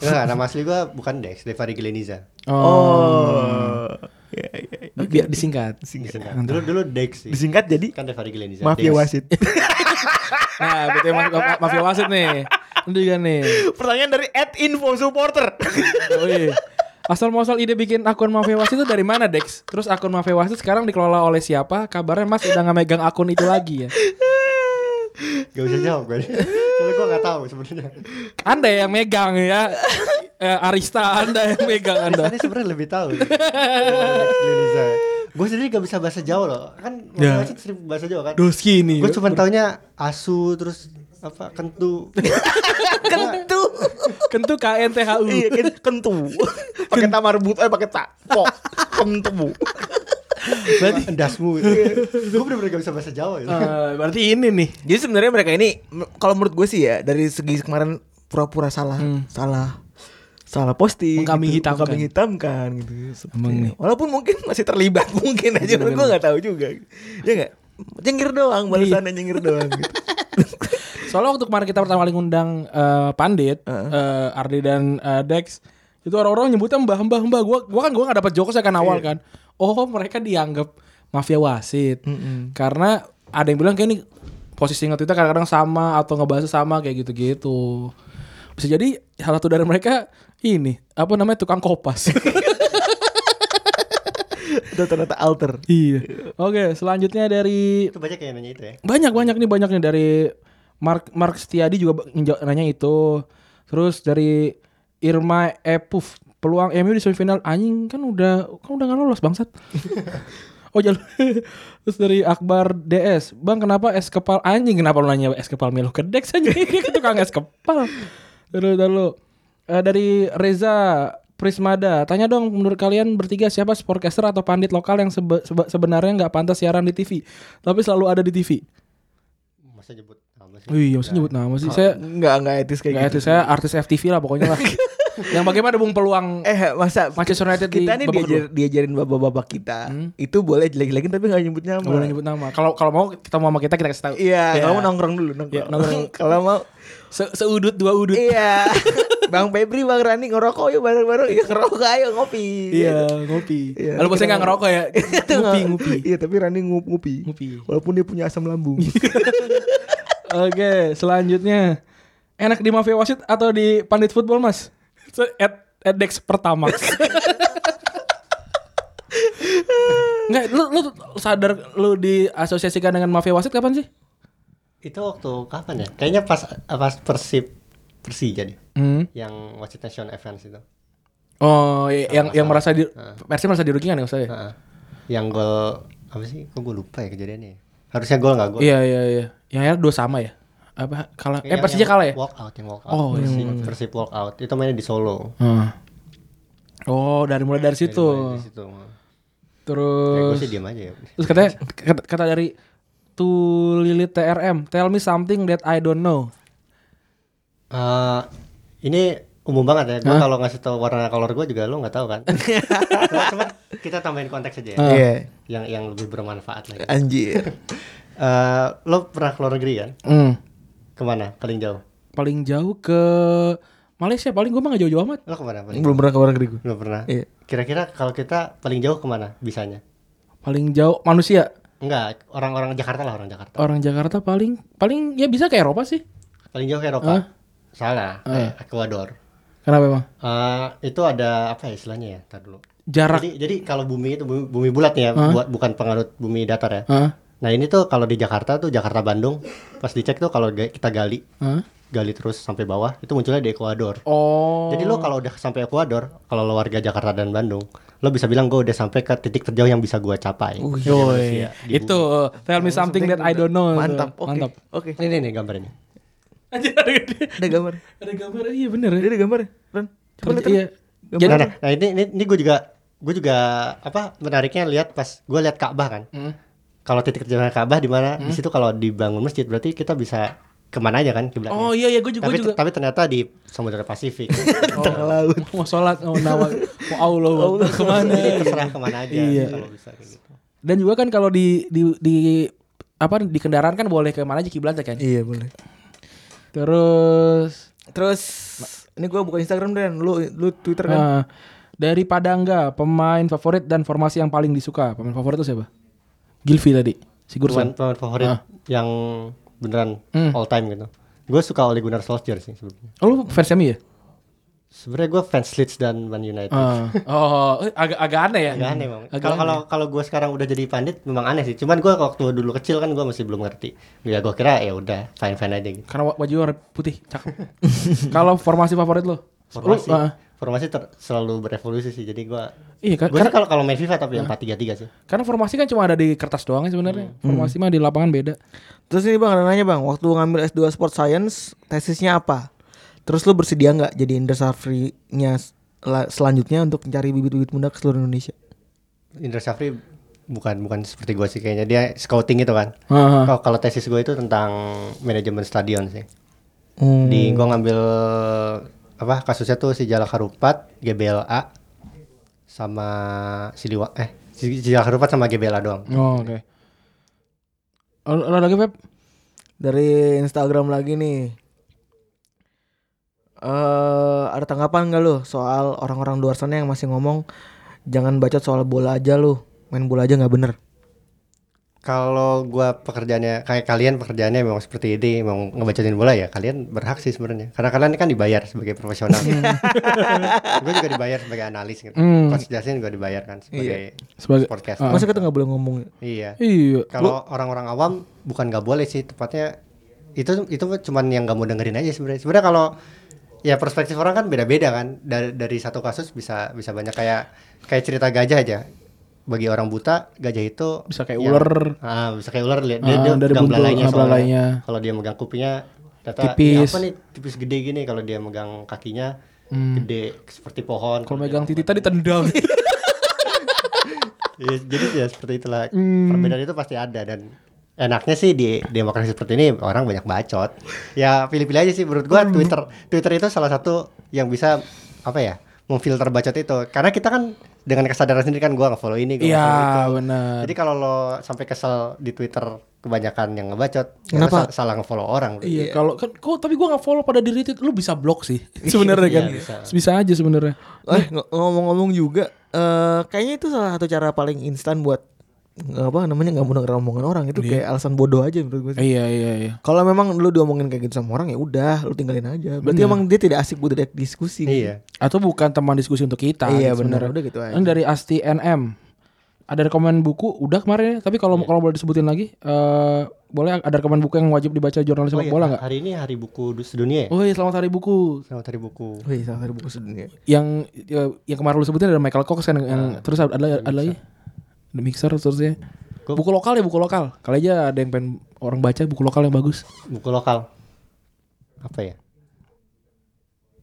Enggak, nama asli gue bukan Dex, Devari Gleniza.
Oh.
Oh. Iya, iya, iya.
Bi- Biar disingkat.
Disingkat. Dulu dulu Dex sih.
Disingkat jadi
Kan Devari Gleniza.
Mafia
ya,
Dex.
Wasit.
Nah, betul ma- ma- mafia wasit nih. Ini juga nih.
Pertanyaan dari at info supporter.
Oh, iya. Asal muasal ide bikin akun mafia wasit itu dari mana, Dex? Terus akun mafia wasit sekarang dikelola oleh siapa? Kabarnya Mas udah nggak megang akun itu lagi ya.
Gak usah jawab gue. Soalnya gue gak tahu sebenarnya.
Anda yang megang ya. Eh, Arista Anda yang megang Anda.
Ini sebenarnya lebih tahu. ya. Dex Gleniza. Gue sendiri gak bisa bahasa Jawa loh. Kan Mafia Wasit sering bahasa Jawa kan.
Ya. Doski nih.
Gue cuma taunya asu terus apa kentu.
Kentu.
Kentu KNTHU.
Iya, ken- kentu. Pakai tamar but eh pakai tak. Kok kentu.
Berarti dasmu. gue bener-bener gak bisa bahasa Jawa ya.
Eh, berarti ini nih.
Jadi sebenarnya mereka ini m- kalau menurut gue sih ya dari segi kemarin pura-pura salah,
Hmm.
salah salah posting,
Mengkambing
gitu,
hitamkan.
mengkambing hitamkan gitu. Seperti
Emang
ini.
nih.
Walaupun mungkin masih terlibat mungkin aja, gue nggak tahu juga. Ya nggak, nyengir doang,
Iya.
balasannya nyengir doang. Gitu.
Soalnya waktu kemarin kita pertama kali ngundang eh, Pandit, eh, Ardi dan eh, Dex, itu orang-orang nyebutnya mbah mbah mbah. Gua, gua kan gua nggak dapat jokes kan awal kan. Oh mereka dianggap mafia wasit karena ada yang bilang kayak ini posisi ngetweetnya kadang-kadang sama atau ngebahas sama kayak gitu-gitu. Bisa jadi salah satu dari mereka ini apa namanya tukang kopas.
Itu ternyata alter.
iya. Oke, selanjutnya dari
Itu banyak yang nanya itu ya.
banyak banyak nih banyak nih dari Mark Mark Setiadi juga ba- nja- nanya itu terus dari Irma Epuf peluang MU di semifinal anjing kan udah kan udah nggak lolos bangsat oh jalan terus dari Akbar DS bang kenapa es kepal anjing kenapa lu nanya es kepal Milo ke Dex anjing dia ke tukang es kepal terus lalu eh, dari Reza Prismada, tanya dong menurut kalian bertiga siapa sportcaster atau pandit lokal yang sebe- sebe- sebenarnya nggak pantas siaran di TV, tapi selalu ada di TV.
Masa nyebut nama sih.
Wih, masa Iya, nyebut nama sih? Saya
Nggak nggak etis Iya. kayak
nggak
gitu.
itu saya artis FTV lah pokoknya lah. yang bagaimana bung peluang
Eh masa
Manchester United di
kita nih
babak Hmm.
diajar, diajarin bapak-bapak kita itu boleh jelek-jelekin tapi nggak nyebut nama.
nggak boleh nyebut nama. Kalau kalau mau kita mau sama kita kita kasih tahu.
Iya,
Ya.
kalau mau nongkrong dulu
Iya,
nongkrong.
nongkrong.
kalau mau
Se- seudut dua udut.
Iya. Bang Febri, Bang Rani ngerokok yuk bareng-bareng. Yuk ngerokok ayo ngopi.
Iya, ngopi.
Iya,
Lalu
kita
saya nggak ngerokok ya.
Itu
ngopi,
nggak-
ngopi.
Iya, tapi Rani ngup ngopi.
Ngopi. Iya.
Walaupun dia punya asam lambung.
Oke, selanjutnya. Enak di Mafia Wasit atau di Pandit Football, Mas? So, At, at Dex pertama. Nggak, lu, lu sadar lu diasosiasikan dengan Mafia Wasit kapan sih?
Itu waktu kapan ya? Kayaknya pas pas Persib Persija deh.
Hmm.
Yang wasit Nation Events itu.
Oh, y- yang yang merasa di
Heeh.
Persib merasa dirugikan ya maksudnya?
Heeh. Yang gol apa sih? Kok gue lupa ya kejadiannya. ya? Harusnya gol nggak gol?
Iya iya iya. Yang akhirnya dua sama ya? Apa kalah? Eh
Yang-
Persija
yang
kalah ya?
Walk out, yang walk out.
Oh,
Persib, Persib walk out. Itu mainnya di Solo.
Hmm. Oh, dari mulai dari
Jadi mainnya
situ.
Di situ. Ya, gue
Terus
sih diam aja ya.
terus katanya kata, kata dari tuh Lilit TRM, tell me something that I don't know.
Eh, ini umum banget ya. Gue kalau ngasih tau warna color gue juga lo nggak tahu kan. cuma, cuma kita tambahin konteks aja ya.
Iya.
Yang yang lebih bermanfaat lagi.
Anjir.
Eh, lo pernah keluar negeri kan?
Hmm.
Kemana? Paling jauh?
Paling jauh ke Malaysia, paling gue mah gak jauh-jauh amat.
Lo kemana? Paling
Belum pernah ke luar negeri gue.
Belum pernah.
Iya.
Kira-kira kalau kita paling jauh kemana bisanya?
Paling jauh manusia.
Enggak, orang-orang Jakarta lah orang Jakarta.
Orang Jakarta paling paling ya bisa ke Eropa sih.
Paling jauh ke Eropa. Salah, eh, Ecuador.
Kenapa emang?
Eh, itu ada apa ya istilahnya ya? Ntar dulu.
Jarak.
Jadi, jadi kalau bumi itu bumi, bumi bulat nih ya, buat bukan pengarut bumi datar ya.
Hah?
Nah ini tuh kalau di Jakarta tuh Jakarta Bandung, pas dicek tuh kalau ga- kita gali,
Hah?
gali terus sampai bawah, itu munculnya di Ekuador.
Oh.
Jadi lo kalau udah sampai Ekuador, kalau lo warga Jakarta dan Bandung, lo bisa bilang gue udah sampai ke titik terjauh yang bisa gua capai.
Iya, Oh. Yoi. Itu uh, tell me something that I don't know.
Mantap.
Tuh.
Oke.
Mantap.
Oke.
Ini nih gambar ini.
Anjir, ada gede.
Ada gambar.
Ada gambar iya bener ya.
Ada gambar. Ren. Coba lihat.
Iya.
Ren.
Jadi-
Nah, nah, nah, ini ini, ini gue juga gue juga apa menariknya lihat pas gue lihat Ka'bah kan.
Hmm.
Kalau titik terjauhnya Ka'bah di mana? Di situ kalau dibangun masjid berarti kita bisa kemana aja kan kiblatnya.
Oh iya iya gue juga
tapi,
gua juga.
tapi ternyata di Samudra Pasifik.
Mau sholat, mau nawa, mau Allah, kemana?
Jadi terserah kemana aja
Iya.
kalau bisa kayak gitu.
Dan juga kan kalau di di di apa di kendaraan kan boleh ke mana aja kiblatnya kan.
Iya boleh.
Terus
Terus ini gue buka Instagram dan lu lu Twitter kan.
eh, dari Padangga, pemain favorit dan formasi yang paling disuka. Pemain favorit itu siapa? Gilvi tadi,
Pemain
Sigurdsson.
pemain favorit
Ah.
yang beneran
Hmm.
all time gitu. Gue suka Ole Gunnar Solskjaer sih sebelumnya.
Oh, lu fans MU ya?
Sebenarnya gue fans Leeds dan Man United.
Ah. oh, eh, agak agak aneh ya.
Agak aneh bang.
Agak
Kalau
aneh.
kalau kalau gue sekarang udah jadi pandit memang aneh sih. Cuman gue waktu dulu kecil kan gue masih belum ngerti. Ya gue kira ya udah fine fine aja gitu.
Karena wa- baju warna putih, cakep. Kalau formasi favorit lo?
Formasi
Lu, ah.
formasi ter- selalu berevolusi sih. Jadi gue
iya, kar-
gue
karena, Ah.
sih kalau kalau main FIFA tapi yang empat tiga tiga sih.
karena formasi kan cuma ada di kertas doang ya sebenarnya.
Hmm.
Formasi mah di lapangan beda.
Terus ini bang, ada nanya bang, waktu ngambil S2 Sport Science, tesisnya apa? Terus lu bersedia nggak jadi Indra Safri-nya sel- selanjutnya untuk mencari bibit-bibit muda ke seluruh Indonesia?
Indra Syafri bukan bukan seperti gue sih kayaknya dia scouting itu kan.
Heeh.
Kalau kalau tesis gue itu tentang manajemen stadion sih.
Hmm.
Di gue ngambil apa kasusnya tuh si Jalak Harupat, GBLA sama Siliwa eh si Jalak Harupat sama GBLA doang.
Oh, oke. Lo, lo lagi Pep?
Dari Instagram lagi nih. Eh ada tanggapan nggak lu soal orang-orang luar sana yang masih ngomong jangan bacot soal bola aja lu, main bola aja nggak bener.
Kalau gua pekerjaannya kayak kalian pekerjaannya memang seperti ini, memang ngebacotin bola ya, kalian berhak sih sebenarnya. Karena kalian kan dibayar sebagai profesional. gue juga dibayar sebagai analis gitu.
Iya. Hmm. Iya.
Coach Justin juga dibayar kan sebagai
Sebagai
podcast.
Ah.
Masa kita nggak boleh ngomong?
Iya.
Iya. Lo-
Kalau orang-orang awam bukan nggak boleh sih, tepatnya itu itu cuman yang nggak mau dengerin aja sebenarnya. Sebenarnya kalau ya perspektif orang kan beda-beda kan. Dari dari satu kasus bisa bisa banyak kayak kayak cerita gajah aja. Bagi orang buta gajah itu
Bisa kayak
yang-
ular.
Ah, bisa kayak ular lihat dia,
Ah,
dia
dari
megang
bentuk,
belalainya.
ah,
soalnya.
belalainya.
Kalau dia megang kupingnya kata
Tipis.
apa nih tipis gede gini kalau dia megang kakinya gede seperti pohon.
Hmm. Kalau megang titi tadi tendang.
Ya, jadi ya seperti itulah
Hmm.
perbedaan itu pasti ada dan enaknya sih di demokrasi seperti ini orang banyak bacot ya pilih-pilih aja sih menurut gua
Hmm.
Twitter Twitter itu salah satu yang bisa apa ya memfilter bacot itu karena kita kan dengan kesadaran sendiri kan gua nggak follow ini gua nggak
Iya,
follow itu.
benar.
jadi kalau lo sampai kesel di Twitter kebanyakan yang ngebacot ya lo
Kenapa?
sa- salah ngefollow orang
Iya, kalau kan kok tapi gua nggak follow pada diri itu lu bisa blok sih. Sebenarnya kan.
Iya, bisa.
bisa aja sebenarnya.
Eh ng- ngomong-ngomong juga, eh kayaknya itu salah satu cara paling instan buat nggak apa namanya nggak mau denger omongan orang itu kayak alasan bodoh aja menurut gue. sih.
Iya, iya, iya.
Kalau memang lu diomongin kayak gitu sama orang ya udah lu tinggalin aja. Berarti emang dia tidak asik buat diajak diskusi.
iya
Atau bukan teman diskusi untuk kita.
Iya
gitu
benar
sebenarnya.
udah gitu aja.
Ini dari Asti NM. ada rekomend buku udah kemarin ya tapi kalau kalau boleh disebutin lagi eh boleh ada rekomend buku yang wajib dibaca jurnalis sepak
iya,
bola nggak?
Hari ini hari buku du- sedunia ya?
Oh iya selamat hari buku
Selamat hari buku.
Wih, salah satu buku sedunia.
yang ya, yang kemarin lu sebutin ada Michael Cox kan yang terus ada ada, ada lagi The Mixer terusnya
Gua-
buku lokal ya buku lokal kali aja ada yang pengen orang baca buku lokal yang bagus
Buku lokal. Apa ya?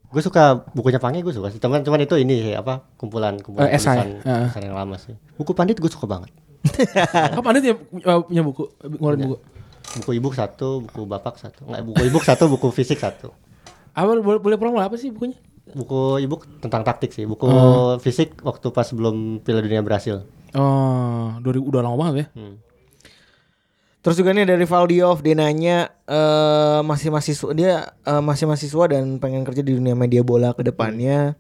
Gue suka bukunya Pange gue suka sih. Teman cuman itu ini sih apa kumpulan kumpulan
Eh, esai.
tulisan,
Heeh.
tulisan yang lama sih. Buku Pandit gue suka banget.
apa anda punya, eh, punya buku ngeluarin buku
Buku ibu satu, buku bapak satu. Enggak, buku ibu satu, buku fisik satu.
apa boleh boleh promo apa sih bukunya
Buku ibu tentang taktik sih. Buku fisik waktu pas sebelum Piala Dunia Brasil.
oh 2000 udah lama banget ya
Terus juga nih dari Valdiov dia nanya eh, masih mahasiswa dia eh, masih mahasiswa dan pengen kerja di dunia media bola ke depannya.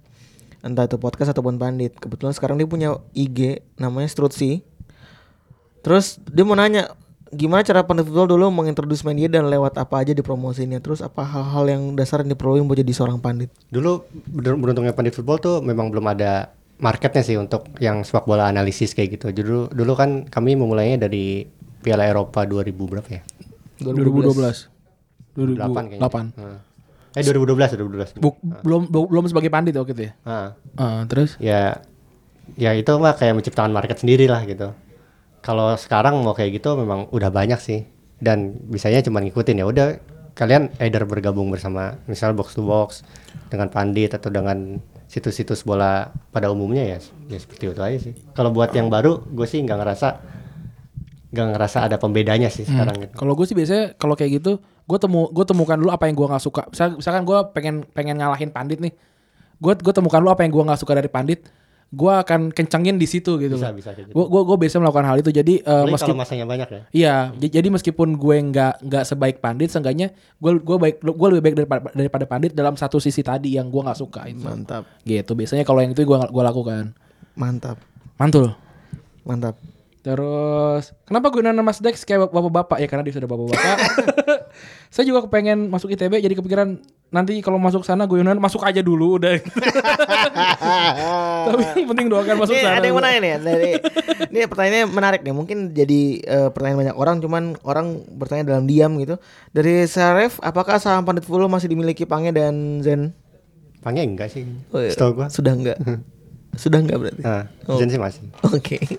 Entah itu podcast ataupun pandit. Kebetulan sekarang dia punya IG namanya Strutsi. Terus dia mau nanya gimana cara pandit football dulu mengintroduce media dan lewat apa aja di promosinya. Terus apa hal-hal yang dasar yang diperlukan buat jadi seorang pandit?
Dulu bener- beruntungnya pandit football tuh memang belum ada marketnya sih untuk yang sepak bola analisis kayak gitu. Dulu dulu kan kami memulainya dari Piala Eropa 2000 berapa ya?
2012
8
2008
kayaknya. Heeh. Eh 2012 2012.
Buk- belum belum sebagai pandit waktu itu ya
Heeh.
Ah, terus
ya ya itu mah kayak menciptakan market sendiri lah gitu. Kalau sekarang mau kayak gitu memang udah banyak sih dan bisanya cuma ngikutin ya udah kalian either bergabung bersama misal box to box dengan pandit atau dengan situs-situs bola pada umumnya ya ya seperti itu aja sih. Kalau buat yang baru gue sih nggak ngerasa nggak ngerasa ada pembedanya sih sekarang gitu.
Hmm. Kalau gue sih biasanya kalau kayak gitu, gue temu gue temukan dulu apa yang gue nggak suka. Misal, misalkan gue pengen pengen ngalahin pandit nih, gue gue temukan dulu apa yang gue nggak suka dari pandit, gue akan kencengin di situ gitu.
Bisa
loh.
bisa kayak gitu.
Gue gue gue biasa melakukan hal itu. Jadi eh,
Apalagi
meskipun
kalau masanya banyak ya.
Iya, j- jadi meskipun gue nggak nggak sebaik pandit, seenggaknya gue gue baik gue lebih baik daripada, daripada pandit dalam satu sisi tadi yang gue nggak suka itu.
Mantap,
Gitu biasanya kalau yang itu gue gue lakukan.
mantap,
Mantul.
mantap.
Terus kenapa gunaan Mas Dex kayak bapak-bapak ya karena dia sudah bapak-bapak. Saya juga kepengen masuk ITB jadi kepikiran nanti kalau masuk sana guyonan masuk aja dulu udah. Tapi yang penting doakan masuk
Nih,
sana.
ada yang mau nanya nih dari ini pertanyaannya menarik nih mungkin jadi eh, pertanyaan banyak orang cuman orang bertanya dalam diam gitu dari Saref apakah saham Pandit Fulo masih dimiliki Pange dan Zen
Pange enggak sih.
Oh, iya.
Setahu gua.
sudah enggak sudah enggak berarti
Nah,
Oh.
Zen sih masih.
oke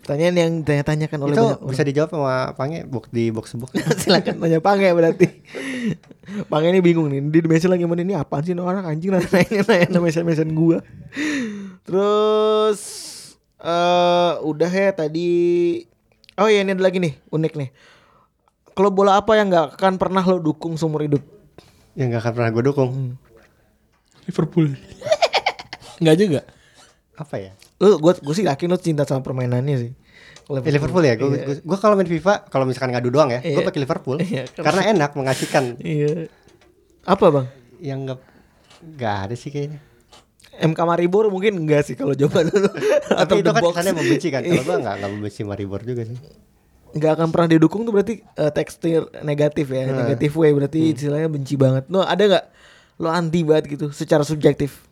pertanyaan yang ditanya-tanyakan oleh
itu
banyak
bisa dijawab sama Pange buk- di box to box.
orang. silakan tanya Pange berarti Pange ini bingung nih di dimensi lagi mau ini apaan sih ini orang anjing nanya nanya nanya mesen gua terus eh udah ya tadi oh ya ini ada lagi nih unik nih kalau bola apa yang nggak akan pernah lo dukung seumur hidup
yang gak akan pernah gue dukung
Liverpool. Enggak juga.
apa ya
lo gue gue Eh, sih yakin lo cinta sama permainannya sih
Eh, Liverpool ya gue gue kalau main FIFA kalau misalkan ngadu doang ya gue
Iya.
pakai Liverpool
Iya, kenapa?
karena enak mengasihkan
iya apa bang
yang nggak nggak ada sih kayaknya
MK Maribor mungkin enggak sih kalau jawaban lo
tapi itu
The
kan
Box. Iya.
kesannya membenci kan kalau gue nggak nggak membenci Maribor juga sih
nggak akan pernah didukung tuh berarti eh, tekstur negatif ya, negatif way berarti istilahnya benci banget. Lo ada nggak lo anti banget gitu secara subjektif?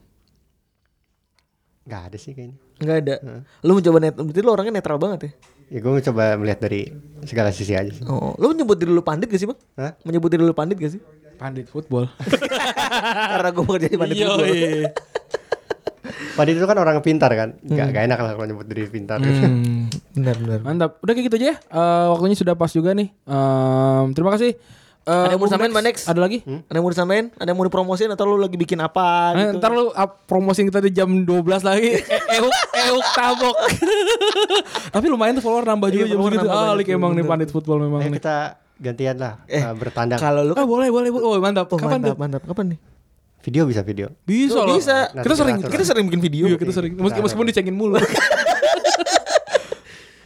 nggak ada sih kayaknya
Nggak ada. Lo mencoba net, berarti lo orangnya netral banget ya?
ya gue coba melihat dari segala sisi aja sih
Oh, lo menyebut diri lo pandit gak sih bang?
Hah?
Menyebut diri lo pandit gak sih?
Pandit football.
Karena gue bekerja di pandit
Yo,
football.
iya.
Padahal itu kan orang pintar kan
Hmm.
nggak nggak enak lah kalau nyebut diri pintar
Hmm.
Benar benar.
Mantap. Udah kayak gitu aja ya. Eh, waktunya sudah pas juga nih. Em, terima kasih. Eh,
Ada yang
Bung
mau disampaikan,
Dex.
Bang Dex?
Ada lagi?
Ada yang mau disampaikan? Ada yang mau dipromosin atau lo lagi bikin apa?
Eh,
Gitu?
ntar lu up, promosiin kita di jam 12 lagi Eh, Euk Euk tabok Tapi lumayan tuh follower nambah juga
Iya,
jam
follower
segitu
nambah
Ah
banyak
Lik emang nih pandit football memang
eh
nih
kita gantian lah
Eh,
uh, bertandang
Kalau lo
Ah boleh boleh boleh Oh mantap
Oh,
Kapan
mantap,
tuh?
mantap. Kapan nih?
video bisa video
Bisa
Oh,
loh
bisa.
Nanti
Kita sering
kita atur.
Kita sering bikin video.
Iya kita sering Meski- Meskipun dicengin mulu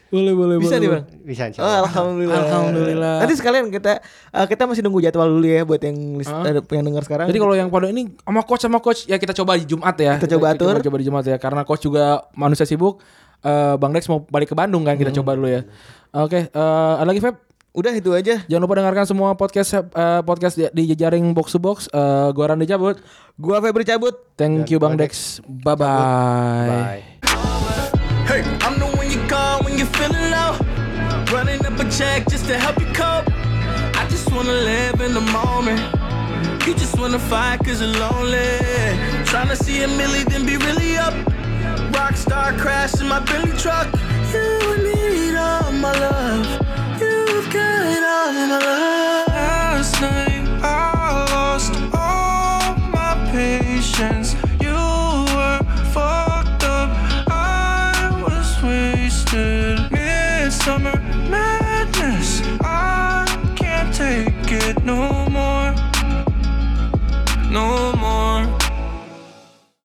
Boleh boleh boleh,
Bisa nih
boleh.
bang.
bisa insya
Oh,
Allah
alhamdulillah.
Alhamdulillah.
Nanti sekalian kita eh, kita masih nunggu jadwal dulu ya buat yang list, eh, yang dengar sekarang.
Jadi kalau yang pada ini sama coach sama coach ya kita coba di Jumat ya.
Kita coba atur.
Coba, coba di Jumat ya karena coach juga manusia sibuk. Eh, Bang Dex mau balik ke Bandung kan kita coba dulu ya. Oke, eh, ada lagi Feb?
udah itu aja.
Jangan lupa dengarkan semua podcast eh, podcast di, di jejaring box to box. Eh, gua Randy cabut.
Gua Febri cabut.
Thank you Bang Dex. Bye bye.
bye
Hey, I'm the one you call
up a check just to help you cope. I just wanna live in the moment. You just wanna fight cause you're lonely. Tryna see a milli, then be really up. Rockstar crash in my Bentley truck. You need all my love. You've got all my love.